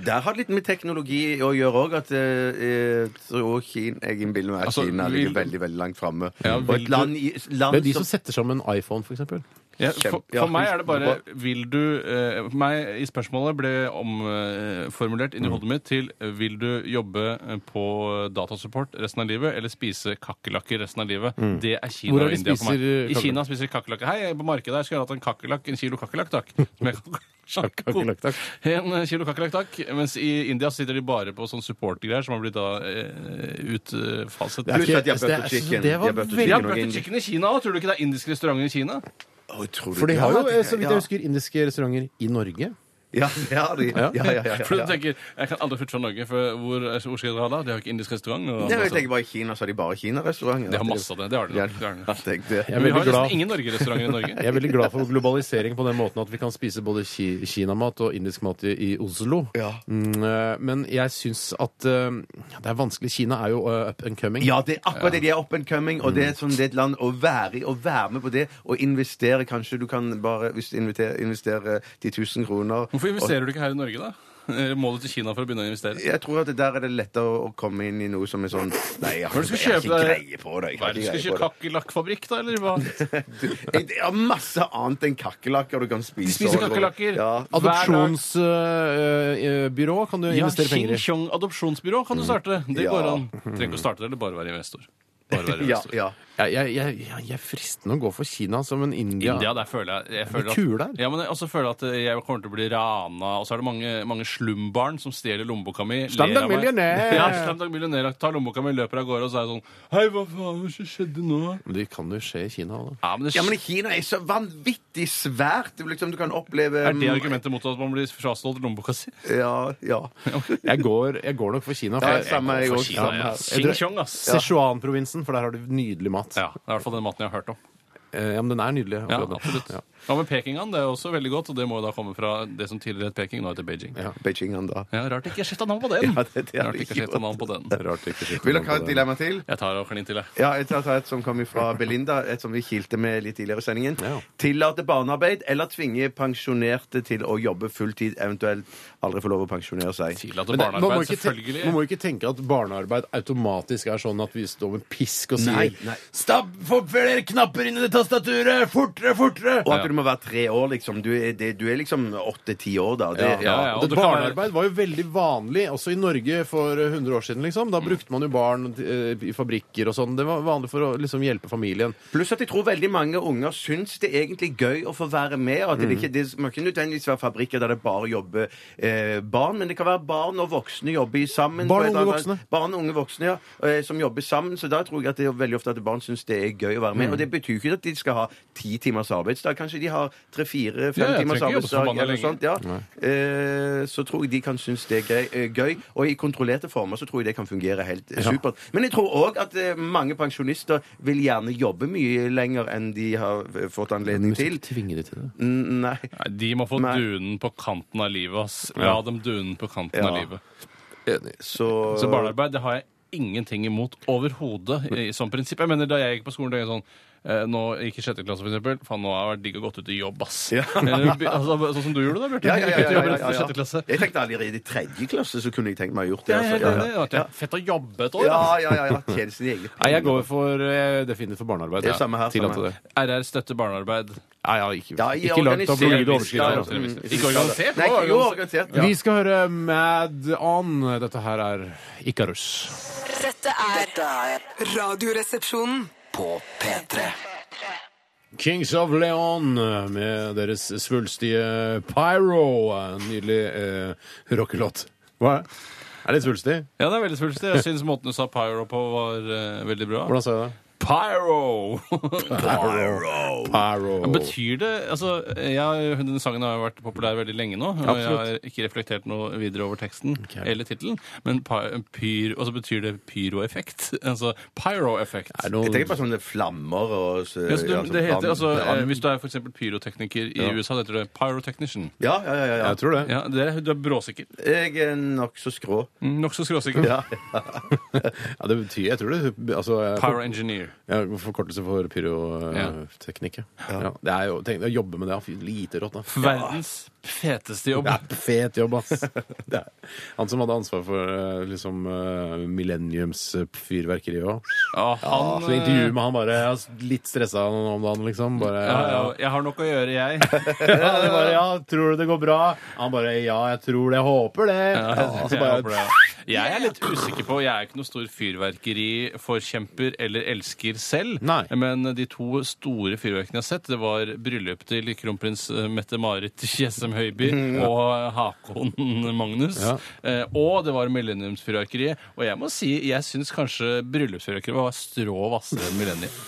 Det har litt med teknologi å gjøre òg. At eh, eh, så Kina, jeg innbiller meg at
Altså,
Kina
vil-
ligger veldig veldig langt framme.
Ja,
og
vil
et land, i- land
Det er de som setter sammen iPhone, for eksempel.
Ja, for,
Ja.
for meg er det bare Vil du eh, for Meg i spørsmålet ble omformulert
Mm.
inni hodet mitt til eh, Vil du jobbe eh, på datasupport resten av livet eller spise kakerlakker resten av livet? Det er Kina
Mm. Hvor er
og
de
India for meg.
spiser, eh,
I Kina spiser de kakerlakker. Hei, jeg er på markedet her skulle jeg hatt en kakerlakk. En kilo kakerlakk, takk. Med
Kakerlakk, takk.
En eh, kilo kakerlakk, takk. Mens i India sitter de bare på sånn supportergreier som har blitt da eh, utfaset.
Pluss
ikke-
at de
det
har
er-
butter chicken.
det var
De har butter
veldig-
Ja,
chicken og
Butter
indi-
Chicken i Kina òg. Tror du ikke det er indisk restaurant i Kina?
Å, tror du
For de
det?
har jo,
Ja,
eh, så vidt
ja.
jeg husker, indiske restauranter i Norge.
Ja, det har de. Ja, ja, ja, ja,
For du
ja.
tenker, Jeg kan aldri flytte fra Norge, for hvor, hvor skal jeg dra da? De har ikke indisk restaurant. Og,
Nei, jeg tenker bare i Kina så har de bare Kina-restauranter.
de har masse av det. Det har de.
Ja,
nok, det har de.
jeg tenkte-
Jeg er
Vi har
veldig
nesten
glad.
ingen Norge-restauranter i Norge.
Jeg er veldig glad for globalisering på den måten at vi kan spise både ki kinamat og indisk mat i, i Oslo.
Ja.
Mm, eh, men jeg syns at eh, det er vanskelig. Kina er jo eh, up and coming.
Ja, det er akkurat det. De er up and coming, og det er, sånn, det er et land å være i, å være med på det, og investere. Kanskje du kan bare, hvis du inviterer- investerer 10 000 kroner
Hvorfor investerer du ikke her i Norge, da? Eh, Må du til Kina for å begynne å investere?
Jeg tror at det der er det lettere å komme inn i noe som er sånn Nei, jeg har
Hva er det du
ikke,
skal kjøpe
jeg har ikke
deg?
greie på det. Jeg
Hva
har
er det du skal
ikke greie
kjøpe
på det.
kakerlakkfabrikk, da? eller hva?
Jeg- Det er masse annet enn kakerlakker du kan spise.
De spiser
og-
kakerlakker.
Ja.
Adopsjonsbyrå eh, kan du
Ja,
investere penger i.
Xinjiang adopsjonsbyrå kan du starte. Det
Mm. Ja.
går an. Trenger ikke å starte det, eller bare være investor. Bare være
Ja,
investor.
ja.
Jeg, jeg, jeg, jeg jeg er fristende å gå for Kina som en India.
India, der føler jeg, jeg føler
Det er kul der.
Ja, men jeg også føler at jeg kommer til å bli rana, og så er det mange, mange slumbarn som stjeler lommeboka mi.
Slam
ler
deg
av meg.
millionær!
Ja, slam deg millionær. Tar lommeboka mi, løper av gårde, og så er jeg sånn Hei, hva faen, hva skjedde nå?
Men det kan jo skje i Kina òg, da.
Ja, men det
ja, men Kina er så vanvittig svært. Du, liksom, du kan oppleve
er det argumentet mot at man blir frastjålet lommeboka si?
Ja, ja.
Jeg går, jeg går nok for Kina. For
Ja,
jeg-
samme
jeg
jeg
går
også,
for Kina,
samme
ja.
her.
Jeg tror-
Xinjiang, ass. Ja.
Sichuan-provinsen, for der har du nydelig mat.
det er i hvert fall den maten jeg har hørt om.
Eh, Ja, men den er nydelig.
Ja,
akkurat nå.
absolutt.
Ja.
Ja, men Pekingan det er også veldig godt, og det må jo da komme fra det som tidligere het Peking, nå heter Beijing. Ja,
Beijing da.
Rart ikke jeg skifta navn på den.
Ja, det- det er
Rart ikke jeg
ikke
skifta
godt.
navn på den.
Rart ikke skifter
Vil
navn
dere ha
på
et
det.
dilemma til?
Jeg tar og klin til, jeg.
Ja, jeg tar tar et som kommer fra Belinda, et som vi kilte med litt tidligere i sendingen.
Ja.
Tillate barnearbeid eller tvinge pensjonerte til å jobbe fulltid, eventuelt aldri få lov å pensjonere seg.
Tillate
Men det- man, må
barnearbeid,
ikke tenke,
selvfølgelig.
man må ikke tenke at barnearbeid automatisk er sånn at vi står med pisk og sier
Nei, nei.
Stapp, få flere knapper inn i det tastaturet! Fortere, fortere!
Og at du må være tre år, liksom. Du er, det, du er liksom åtte-ti år, da. Det,
Ja, ja,
ja, og
Det
det kan være-
barnearbeid var jo veldig vanlig også i Norge for 100 år siden. liksom. Da brukte man jo barn eh, i fabrikker og sånn. Det var vanlig for å liksom hjelpe familien.
Pluss at jeg tror veldig mange unger syns det er egentlig gøy å få være med. og at
Mm.
Det, ikke, det må ikke nødvendigvis være fabrikker der det bare jobber eh, barn, men det kan være barn og voksne jobber sammen.
Barn og
på et
unge
annet-
voksne.
Barn og unge voksne, ja, eh, Som jobber sammen. Så da tror jeg at det er veldig ofte at barn syns det er gøy å være med.
Mm.
Og det betyr ikke at de skal ha ti timers arbeidsdag. Kanskje de har
Ja,
tre-fire-fem
jeg trenger
timers
ikke jobbe så
arbeidsdag
forbanna
eller
lenge.
noe sånt. Ja. Eh, så tror jeg de kan synes det er gøy, eh, gøy. Og i kontrollerte former så tror jeg det kan fungere helt eh, supert. Men jeg tror òg at eh, mange pensjonister vil gjerne jobbe mye lenger enn de har eh, fått anledning til.
tvinge de til det.
Mm, Nei.
Nei, de må få
Nei.
dunen på kanten av livet, ass. La dem dunen på kanten
Ja.
av livet.
Så,
Så barnearbeid, det har jeg ingenting imot overhodet i- som prinsipp. Jeg mener, Da jeg gikk på skolen, tenkte jeg sånn eh, nå gikk i sjette klasse, for eksempel. Faen, nå har jeg vært digg og gått ut i jobb, ass. Eller, be- altså, sånn som du gjorde da, Bjarte.
Ja, ja,
Gikk
ja, ja,
ut i jobb
ja,
rett
ja,
etter
ja.
sjette klasse.
Jeg tenkte allerede i tredje klasse så kunne jeg tenkt meg å gjort det.
Ja, ja,
altså.
ja, ja, ja. Fett å jobbe et år,
ja,
da.
ja, ja, ja. Tjene sine egne
Nei, jeg går for eh, definitivt for barnearbeid.
Det er samme her,
Tillate
samme her.
det.
RR støtter barnearbeid.
Nei, ja, ikke,
Ja, i
ikke langt av
organisert-
blodige
Ja,
overskrifter. altså. Mm.
mm,
Ikke organisert, altså.
Nei,
hva?
ikke organisert. Ja.
Vi skal høre Mad On. Dette her er Ikarus.
Radioresepsjonen.
På P3.
Kings of Leon med deres svulstige Pyro. En Nydelig eh, rockelåt. Hva er det? Er det svulstig?
Ja, det er veldig svulstig. Jeg syns måten du sa pyro på, var eh, veldig bra.
Hvordan sa jeg det?
Pyro!
Pyro.
Betyr det altså, jeg, Den sangen har jo vært populær veldig lenge nå. Og jeg har ikke reflektert noe videre over teksten eller tittelen. Men py- pyr, og så betyr det pyroeffekt. Altså pyroeffekt.
Er det
Jeg tenker
noe
på sånne flammer og så,
Ja, så du,
ja, sånn
det heter,
brann-
altså, eh,
brann.
hvis du er for eksempel pyrotekniker i USA, det heter det pyrotechnician.
Ja, ja, ja. ja,
Jeg tror det.
Ja, det er, du er bråsikker.
Jeg er nokså skrå.
Nokså skråsikker.
Ja.
Ja, det betyr Jeg tror det altså, eh,
Pyro engineer.
Ja, forkortelse for
Ja.
pyroteknikk. Ja. Ja. Det er jo, tenk, deg å jobbe med det, fy, lite rått, da.
Verdens feteste jobb.
Det er fet jobb, ass. Det er. Han som hadde ansvar for eh, liksom, eh, millenniumsfyrverkeriet òg.
Ja,
Ja,
Ah, han,
Ah, så intervjuet med han bare jeg er Litt stressa om dagen, liksom. Bare,
eh, Ja, ja, jeg har nok å gjøre, jeg.
Ja, det bare, ja, tror du det går bra? Han bare ja, jeg tror det, jeg håper det. Ja,
Jeg,
så Altså, bare,
håper det. jeg er litt usikker på Jeg er ikke noen stor fyrverkeriforkjemper eller elsker selv.
Nei.
Men de to store fyrverkene jeg har sett, det var bryllupet til kronprins eh, Mette-Marit Tjessem Høiby og Hakon Magnus.
Mm, Ja.
Eh, Og det var millenniumsfyrverkeriet. Og jeg må si, jeg syns kanskje bryllupsfyrverkeriet var strå hvassere enn millennium.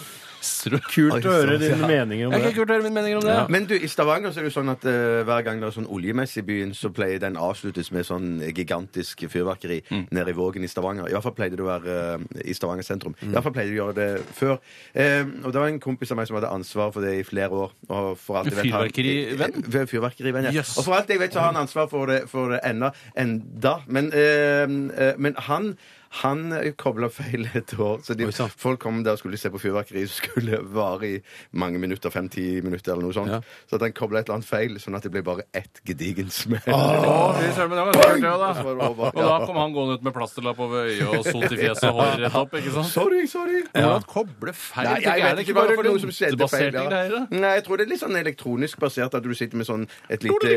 Strå.
Kult å høre dine meninger om
Jeg
det.
kan ikke høre mine meninger om det.
Men du, i Stavanger så er det jo sånn at eh, hver gang det er sånn oljemess i byen, så pleier den avsluttes med sånn gigantisk fyrverkeri nede i Vågen i Stavanger. I hvert fall pleide det å være eh, i Stavanger sentrum. I hvert fall pleide de å gjøre det før. Eh, og det var en kompis av meg som hadde ansvar for det i flere år. Og for alt jeg vet, han-
Fyrverkerivenn?
Eh, Fyrverkerivenn, ja.
Yes.
Og for alt jeg vet, så har han ansvar for det, for det enda, enda. Men, eh, eh, men han han kobla feil et år. Så de, folk kom der og skulle se på fyrverkeri. som skulle vare i mange minutter. Fem-ti minutter eller noe sånt.
Ja.
Så at han kobla et eller annet feil, sånn at det ble bare ett gedigen smell.
Å, fy søren, men det var ganske artig,
Og så var det over.
Og da kom han gående ut med plasterlapp over øyet og sot i fjeset og håret rett opp. ikke sant?
Sorry, sorry.
Hvordan koble feil?
Nei, jeg vet ikke hva det var for noe som skjedde feil.
ja.
Ja. Nei, jeg tror det er litt sånn elektronisk basert, at du sitter med sånn et lite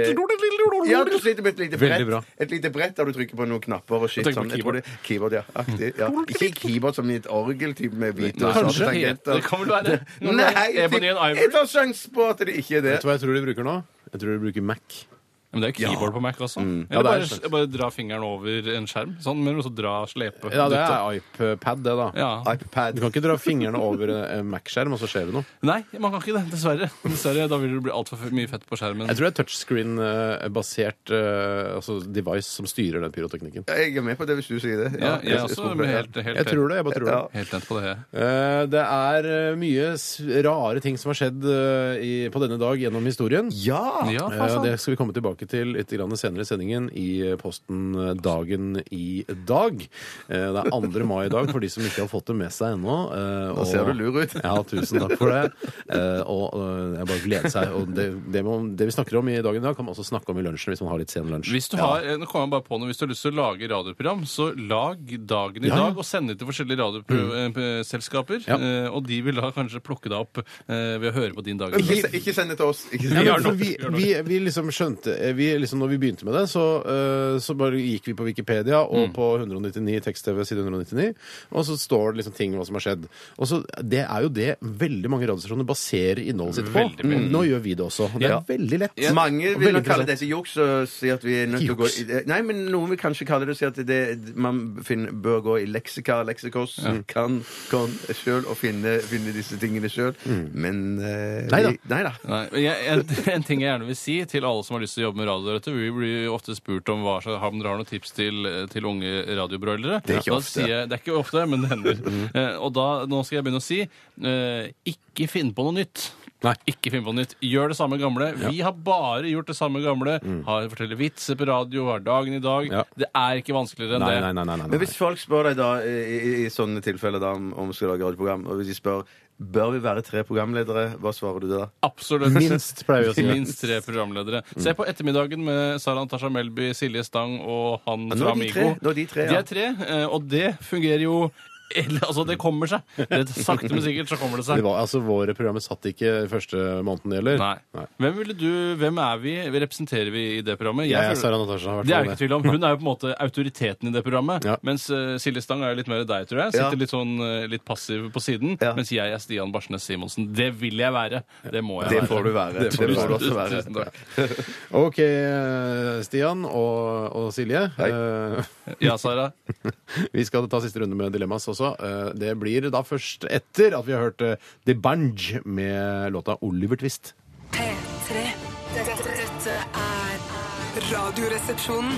Ja, du sitter med et lite
Veldig bra.
brett, et lite brett der du trykker på noen knapper og shit.
Jeg tenker på
Sånn. Jeg tror det er keyboard, ja. Aktig, ja. Ikke keyboard som i et orgeltype med hvite og
Kanskje.
sånne tangenter.
sånn Det kan vel være
Nei, jeg
Ebony and
jeg
Ivory.
tar sjanse på at det ikke er det.
Vet du hva jeg tror de bruker nå? Jeg tror de bruker Mac.
Men det er jo keyboard på Mac også.
Ja, det er
Eller
det.
bare, bare dra fingeren over en skjerm. Sånn, men også dra slepe.
Ja, det
dytte.
er iPad, det, da.
ja.
Du
iPad.
kan ikke dra fingrene over en Mac-skjerm, og så skjer det noe.
Nei, man kan ikke det. Dessverre. Dessverre da vil det bli altfor mye fett på skjermen.
Jeg tror det er touchscreen-basert eh, altså device som styrer den pyroteknikken.
Jeg er med på det hvis du sier det.
ja, jeg er
jeg-
også
jeg-
helt, helt,
Jeg tror det. jeg bare tror det.
Ja.
helt nett på det. jeg.
Eh, Det er eh, mye s- rare ting som har skjedd eh, i, på denne dag gjennom historien.
Ja!
Ja,
Eh, og Det skal vi komme tilbake til litt grann senere i sendingen i Posten eh, dagen i dag. Eh, Det er 2. mai i dag for de som ikke har fått det med seg ennå. Da
ser du lur ut.
Ja, tusen takk for det. Eh, Og eh, jeg bare gleder seg. Og det, det, må, det vi snakker om i dagen i dag, kan man også snakke om i lunsjen hvis man har litt sen lunsj.
Hvis du har, nå kommer jeg bare på noe, hvis du har lyst til å lage radioprogram, så lag dagen i
Ja, ja.
dag og send det til forskjellige eh, radioselskaper.
Ja.
eh, Og de vil da kanskje plukke deg opp eh, ved å høre på din dag. i dag.
Ikke, se- ikke send det til oss. Ikke
Ja, men
send det
for vi, vi, vi liksom skjønte eh, vi liksom, Når vi begynte med det, så, eh, så bare gikk vi på Wikipedia og på 199 tekst-TV side 199, og så står det liksom ting hva som har skjedd. Og så, Det er jo det veldig mange radiostasjoner baserer innholdet sitt på. Mm. Nå gjør vi det også. Det er
Ja.
veldig lett.
Ja. Mange
Veldig
vil nok kalle
interessant.
dette juks og si at vi er nødt til å gå i, Nei, men noen vil kanskje kalle det og si at det, man finner, bør gå i leksika, leksikos, kan, kan sjøl og finne, finne disse tingene sjøl. Men eh,
Neida.
vi- Neida.
Nei, men jeg, en, en ting jeg gjerne vil si til alle som har lyst til å jobbe med radio der ute, Vi blir jo ofte spurt om hva slags- om dere har noen tips til, til unge radiobroilere.
Det er
Da
ikke ofte.
sier Jeg, det er ikke ofte, men det hender.
Mm.
Eh, og da, nå skal jeg begynne å si eh, ikke finn på noe nytt.
Nei.
Ikke finn på noe nytt. Gjør det samme gamle. Vi har bare gjort det samme gamle. Har, forteller vitser på radio hver dagen i dag.
Mm. Ja.
Det er ikke vanskeligere enn
Nei,
det.
nei, nei. nei, nei,
Men hvis folk spør deg da i, i, i sånne tilfeller da om om vi skal lage radioprogram, og hvis de spør bør vi være tre programledere, hva svarer du da?
Absolutt.
Minst, pleier vi å si.
Minst tre programledere. Se på Ettermiddagen med Sara Antasha Melby, Silje Stang og han
Ja, nå
fra
er de
Amigo.
tre. Nå er de tre, ja.
De er tre, eh, og det fungerer jo Eller, altså, det kommer seg. Det, sakte, men sikkert så kommer det
Det
seg.
var, altså, Våre programmer satt ikke første måneden det gjelder.
Nei. Hvem, ville du, hvem er vi? Representerer vi i det programmet?
Jeg er
føler-
Sara Natasha. i hvert
Det er
fall
jo ikke tvil om. Hun er jo på en måte autoriteten i det programmet.
Ja.
Mens eh, Silje Stang er jo litt mer deg, tror jeg. Sitter litt sånn eh, litt passiv på siden.
Ja.
Mens jeg er Stian Barsnes Simonsen. Det vil jeg være. Det må jeg
Det
være.
får du være. Det får du også være.
Tusen takk.
OK, eh, Stian og, og Silje. Eh,
Ja, Sara.
vi skal ta siste runde med dilemmas også. Eh, det blir da først etter at vi har hørt eh, The Banj med låta Oliver Twist.
P3. Dette, dette er Radioresepsjonen.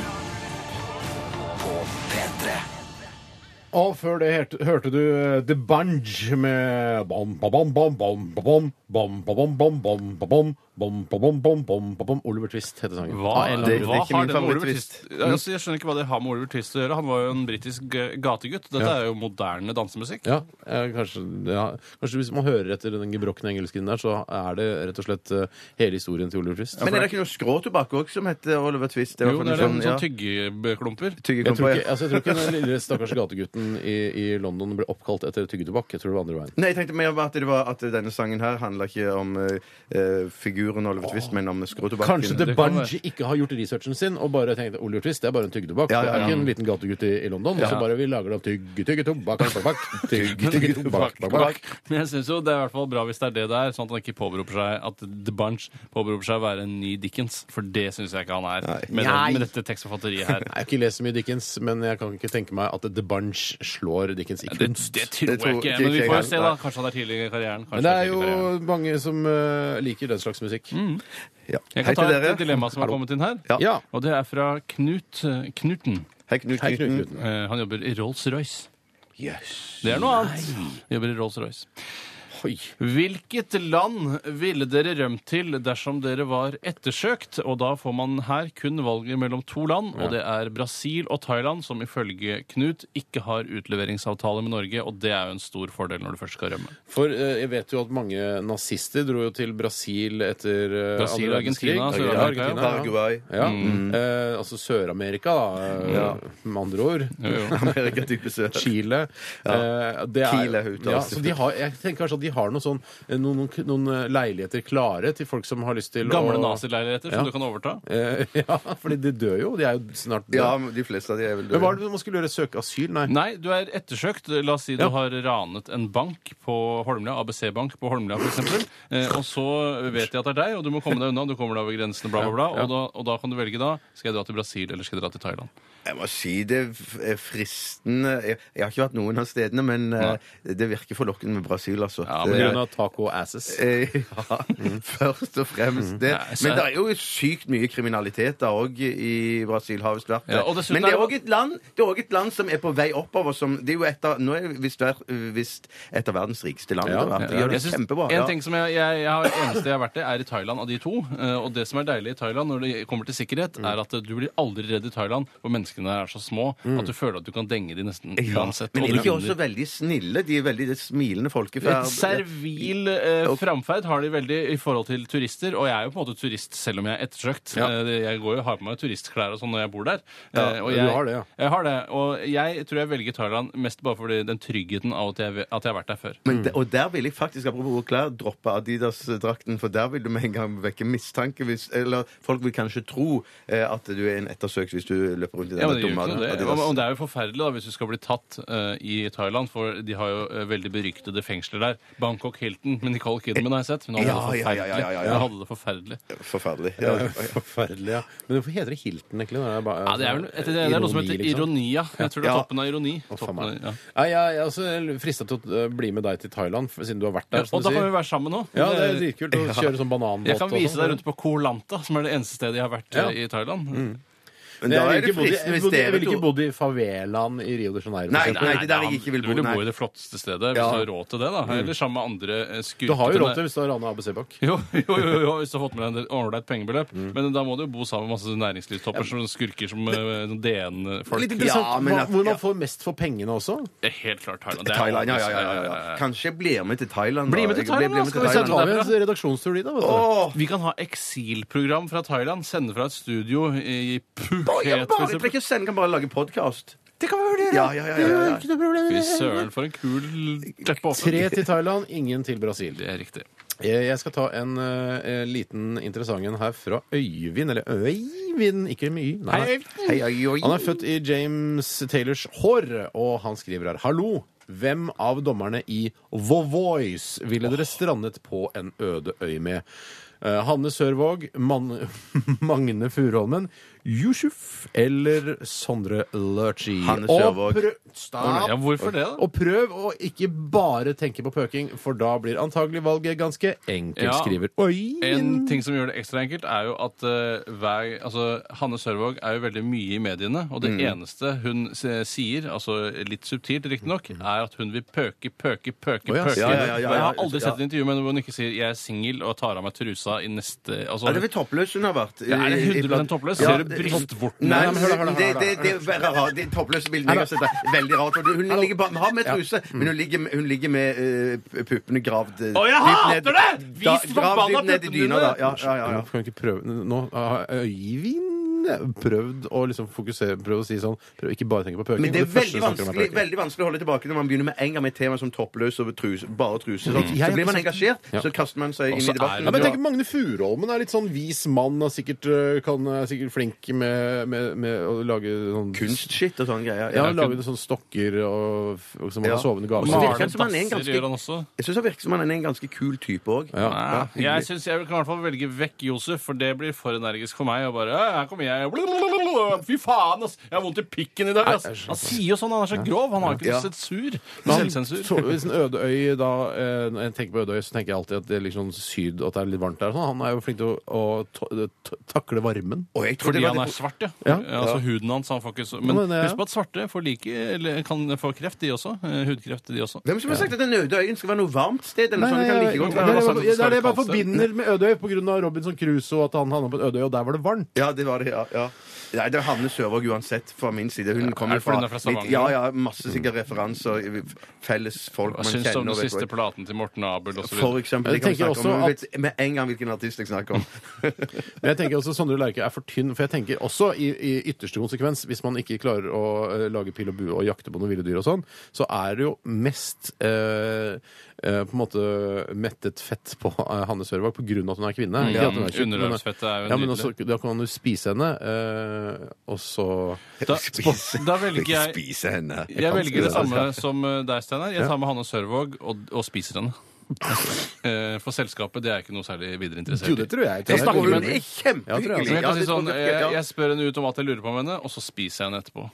Og før det hørte, hørte du eh, The Banj med bom, ba, bom, bom, bom, ba, bom, bom, ba, bom, bom, bom, ba, bom, bom, ba, bom, bom, bom, ba, bom. Oliver Twist heter sangen.
Hva,
Ah, det-
eller,
det er
hva
ikke
har
min
det med Oliver
favoritt-twist.
Twist Ja, altså, Jeg skjønner ikke hva det har med Oliver Twist å gjøre. Han var jo en britisk eh, gategutt. Dette
Ja.
er jo moderne dansemusikk.
Ja, eh, kanskje, ja, kanskje hvis man hører etter den gebrokne engelsken der, så er det rett og slett eh, hele historien til Oliver Twist.
Men er det ikke noe skråtobakk òg som heter Oliver Twist? Det er i
Jo,
hvert
det
fall
er det.
ja.
Sånn tyggeklumper.
Jeg tror,
Tyggeklumper,
ikke,
ja.
altså, jeg tror ikke den lille stakkars gategutten i, i London ble oppkalt etter tyggetobakk. Jeg tror det var andre veien.
Nei, jeg tenkte mer om at, det var, at denne sangen her handla ikke om eh, eh, figuren Oliver Twist, men om skråtobakken.
Kanskje The Bunge ikke har gjort researchen sin og bare tenkt Oliver Twist det er bare en tyggetobakk.
Ja,
Det
ja,
er
ja.
ikke en liten gategutt i, i London. Og så bare vi lager det om tygge, tygge, tobakk, tobakk, tygge, tygge, tobakk, tobakk.
Men jeg synes jo det er i hvert fall bra hvis det er det det er, sånn at han ikke påberoper seg at The Bunch påberoper seg å være en ny Dickens, for det syns jeg ikke han er med, den, med dette tekstforfatteriet her.
Jeg har ikke lest så mye Dickens, men jeg kan ikke tenke meg at The Bunch slår Dickens i
Det,
kunst.
det tror
Det tror
jeg ikke,
ikke
men vi
jeg
får jo
heller.
se, da. Kanskje han er tidlig i karrieren. kanskje
Men det
han
er
tidlig i karrieren.
jo mange som eh, liker den slags musikk.
Ja.
Mm. Jeg
Hei
kan ta
til
et
dere.
dilemma som har
Hallo.
kommet inn her.
Ja.
Ja.
Og det er fra Knut eh, Knuten.
Hei, Knut
Hei, Knut
Knuten.
Knuten.
Eh, Han jobber i Rolls-Royce. Det er noe annet. Jobber i Rolls-Royce.
Oi.
Hvilket land ville dere rømt til dersom dere var ettersøkt? Og da får man her kun valget mellom to land, og det er Brasil og Thailand, som ifølge Knut ikke har utleveringsavtale med Norge, og det er jo en stor fordel når du først skal rømme.
For eh, jeg vet jo at mange nazister dro jo til Brasil etter eh,
Brasil,
andre verdenskrig.
Argentina,
Ja,
Sør-Amerika, ja. Mm.
Argentina,
Paraguay.
ja. Ja. Eh, altså Sør-Amerika, da, eh, med andre ord.
Amerika type sør.
Chile. Eh, det er-
Kiel er ute,
ja,
altså.
så de har, jeg tenker kanskje at de har noe sånn, eh, noen, noen, noen eh, leiligheter klare til folk som har lyst til
Gamle
å
nazileiligheter som
Ja.
du kan overta.
Eh, ja, fordi de dør jo. De er jo snart døde.
Ja, men de fleste av de er vel
Men hva er det man skulle gjøre? Søke asyl? Nei.
Nei, du er ettersøkt. La oss si du har ranet en bank på Holmlia, ABC-bank på Holmlia f.eks. Eh, og så vet de at det er deg, og du må komme deg unna. Du kommer deg over grensene, bla, bla, bla. Og da, og da kan du velge da skal jeg dra til Brasil eller skal jeg dra til Thailand.
Jeg må si det er fristende jeg, jeg har ikke vært noen av stedene, men eh, det virker forlokkende med Brasil, altså.
Ja,
På
men
Det-
grunn av taco asses.
Eh, Ja, først og fremst det.
Mm. Nei, så-
Men det er jo sykt mye kriminalitet da òg i Brasil. har visst vært det.
Ja, og dessuten
Men det
er
er
det-
òg et, land- det er også et land som er på vei oppover. Som, det er jo et av, nå er det visst ver- visst et av verdens rikeste land.
Ja.
etter hvert. De gjør
Eh,
det
Jeg synes-
kjempebra.
En
Ja.
ting som jeg, jeg, jeg har, eneste jeg har vært i, er i Thailand av de to. Eh, Og det som er deilig i Thailand når det kommer til sikkerhet,
Mm.
er at du blir aldri redd i Thailand, for menneskene er så små at du føler at du kan denge de nesten
Mm. Ja.
uansett.
Men
og
er
du
de ikke også
vinner.
veldig snille? De er veldig det er smilende folkeferd.
Et servil eh, framferd har de veldig i forhold til turister, og jeg er jo på en måte turist selv om jeg er ettersøkt. Eh, det- Jeg går jo har på meg turistklær og sånn når jeg bor der. Eh, og
du
jeg,
har det, ja.
Jeg har det, og jeg tror jeg velger Thailand mest bare fordi den tryggheten av at jeg, ve- at jeg har vært der før.
Men de, Mm. og der vil jeg faktisk apropos klær, droppe Adidas-drakten, for der vil du med en gang vekke mistanke. Hvis, eller folk vil kanskje tro eh, at du er en ettersøkt hvis du løper rundt i den
Ja, men det gjør
dumme
ikke noe, det.
Adidas.
Og- Og det er jo forferdelig da, hvis du skal bli tatt eh, i Thailand, for de har jo eh, veldig beryktede fengsler der. Bangkok Hilton med Nicole Kidman har jeg sett. Hun hadde
Ja,
det
ja, ja, ja,
forferdelig.
ja, ja.
Hun hadde det forferdelig.
Forferdelig. Ja.
Forferdelig, ja. Men hvorfor heter det Hilton, egentlig? når Det er, bare,
Ja, det, er vel, det, det er noe som heter
liksom?
ironia. Jeg tror det er
Ja.
toppen av ironi.
Å, faen
Toppen av,
meg.
ja.
Nei, jeg, jeg er også frista til å eh, bli med deg til Thailand, for- siden du har vært der.
Ja,
som du
og da kan
sier.
vi være sammen nå. Eh,
Ja, det er dritkult å kjøre sånn bananbåt.
Jeg kan
og
vise
sånn.
deg rundt på Koh Lanta, som er det eneste stedet jeg har vært eh,
Ja. Mm.
i Thailand.
Men
Men jeg
da er
ville
det
ikke bodd i-
fristende
jeg
hvis
bodde- jeg
dere
ville
to
ikke bodd i favelaen i Rio de Janeiro.
Nei,
for eksempel.
nei, det der jeg ikke vil
Du
bo
ville
nei.
bo i det flotteste stedet, hvis
Ja.
du har råd til det. da. Eller sammen med andre
Mm. Du
eh, skurkete
har jo råd til hvis du har Rane ABC-bak.
Jo, jo, jo, jo, hvis du har fått med deg en ordentlig et pengebeløp.
Mm.
Men da må du jo bo sammen med masse næringslivstopper som skurker som eh, sånn
Litt
DN-folk.
interessant
Ja, men
hva-
at-
hvor man
ja.
får mest for pengene også.
Det er helt klart Thailand. Det er
Thailand, ja, ja, ja, ja, ja.
ja, ja.
Kanskje jeg blir med til Thailand.
Bli med til Thailand, da, skal vi
Så
Thailand.
tar vi en redaksjonestur dit, da. Vet du.
Vi kan ha eksilprogram fra Thailand. Sende fra et studio i Phuket.
Bare,
for
bare,
eksempel.
trenger ikke sende, kan bare lage podkast.
Det kan vi vurdere!
Ja, ja, ja, ja, ja.
Det er Ikke noe problem.
Fy søren, for en kul teppe
Tre til Thailand, ingen til Brasil.
Det er riktig.
Jeg jeg skal ta en eh, liten interessant en her fra Øyvind. Eller Øyvind, ikke mye. Nei.
Hei, oi, oi.
Han er født i James Taylors hår, og han skriver her Hallo! Hvem av dommerne i The Voice ville dere strandet på en øde øy med? Eh, Hanne Sørvåg, Man Magne Furuholmen, Yusuf eller Sondre Lurchie?
Hanne
Og
Sørvåg.
prø- Stopp!
Ja, hvorfor det, da?
Og prøv å ikke bare tenke på pøking, for da blir antagelig valget ganske enkelt,
Ja.
skriver Øyvind.
Mm.
En ting som gjør det ekstra enkelt, er jo at eh, hver, altså, Hanne Sørvåg er jo veldig mye i mediene, og
Mm.
det eneste hun s- sier, altså litt subtilt riktignok, er at hun vil pøke, pøke, pøke,
Å, ja.
pøke.
Mm. Ja, ja, ja, ja,
Og jeg har
ja.
aldri
Ja.
sett et intervju med henne hvor hun ikke sier 'jeg er singel og tar av meg trusa' i neste altså,
Er det vel toppløs hun har vært?
Ja, er det 100% toppløs? Ser du brystvorten?
Nei,
Nei, men hør da, hør da, hør da,
det,
hør da.
det, det er bare rart. Det toppløse bildet jeg har sett, er veldig rart. For hun ligger bare, har med truse, men hun ligger, med- hun ligger med eh, puppene gravd eh,
Å, jeg
dypt
hater
ned-
det! Vis
da-
forbanna
gravd dypt ned i
puppene
dyna, da.
dine!
Ja, ja, ja, ja.
Nå kan vi ikke prøve Nå har Øyvind prøvd å liksom fokusere Prøv å si sånn Prøv ikke bare tenke på pøking.
Men det er
første
veldig
du snakker om er
vanskelig,
pøking.
veldig vanskelig å holde tilbake når man begynner med en gang med et tema som toppløs og truse, bare truse. Sånn.
Jeg
Så
er
blir man
ikke
engasjert,
Ja.
så kaster man seg inn
så
i
er
debatten.
ja, men tenk, Magne Furuholmen er litt sånn vis mann og sikkert, øh, kan, er sikkert flink med, med, med å lage sånn
Kunstskitt og sånne greier.
Ja, lage sånne stokker og, og som han
Ja.
har sovende
Og
gaver.
så
til.
virker han som han er en
Dasser
ganske-
gjør han også.
Jeg syns han virker som han er en ganske kul type òg.
Nei, jeg synes jeg kan i hvert fall velge vekk Josef, for det blir for energisk for meg. Og bare, «Æ, her kommer jeg blablabla, Fy faen, ass! Jeg har vondt i pikken i dag! Ass. Han sier jo sånn, han er så grov. Han har ikke
Ja.
noe sensur.
Men han-
Selvsensur.
så- Hvis en ødeøy da eh, Når jeg tenker på ødeøy, så tenker jeg alltid at det er liksom syd, at det er litt varmt der. og Sånn. Han er jo flink til å, å ta- ta- takle varmen.
Og jeg tror
Fordi
det var
han er
litt-
svart, ja.
Ja.
Altså Huden hans han får ikke så Men
Men det er-
husk på at svarte får like, eller kan få kreft, de også. Eh, Hudkreft, de også.
Hvem som har sagt at den øde øyen skal være noe varmt sted? Eller
Nei,
noe sånt?
nei,
Det kan
jeg-
like godt
det er
være sånn-
det
noe
jeg bare-
sånt.
det er det jeg bare
kaldt sted.
forbinder med Ødøy, pga. Robinson Crusoe og at han havna på en ødøy, og der var det varmt.
Ja, det var det, ja. ja. Nei, det er Hanne Sørvåg uansett, fra min side. Hun
er
kommer
det fordi hun er fra Stavanger?
Ja, ja, masse sikkert referanser, felles folk
Hva
man
syns du om
kjenner.
den
og vet-
siste platen til Morten Abel osv.?
For eksempel.
Jeg
Det kan vi
tenker
snakke om.
også
men Vet med en gang hvilken artist jeg snakker om.
Men jeg tenker også Sondre Lerche er for tynn, for jeg tenker også i, i ytterste konsekvens, hvis man ikke klarer å eh, lage pil og bue og jakte på noen ville dyr og sånn, så er det jo mest eh, eh, på en måte mettet fett på eh, Hanne Sørvåg pga. at hun er kvinne.
Mm.
Ikke at hun er tjukk, men-
Underarmsfettet er jo
Ja, men
nydelig.
også, da kan man jo spise henne, eh, og så
Da, da velger jeg
Spise henne.
Jeg velger det samme som eh, deg, Steinar. Jeg tar med Hanne Sørvåg og, og spiser henne. Eh, For selskapet det er jeg ikke noe særlig videre interessert
Jo, det
i.
tror jeg.
Jeg snakker
med
med er
Men
kjempehyggelig.
jeg, kan si sånn,
Ja, det-
jeg, jeg spør henne ut om at jeg lurer på henne, og så spiser jeg henne etterpå.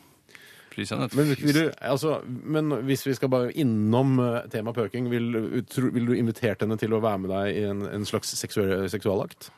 Spiser jeg henne etterpå.
Men, vil du, altså, men hvis vi skal bare innom eh, tema pøking, vil, du- tro- vil du invitert henne til å være med deg i en, en slags seksuell, seksualakt?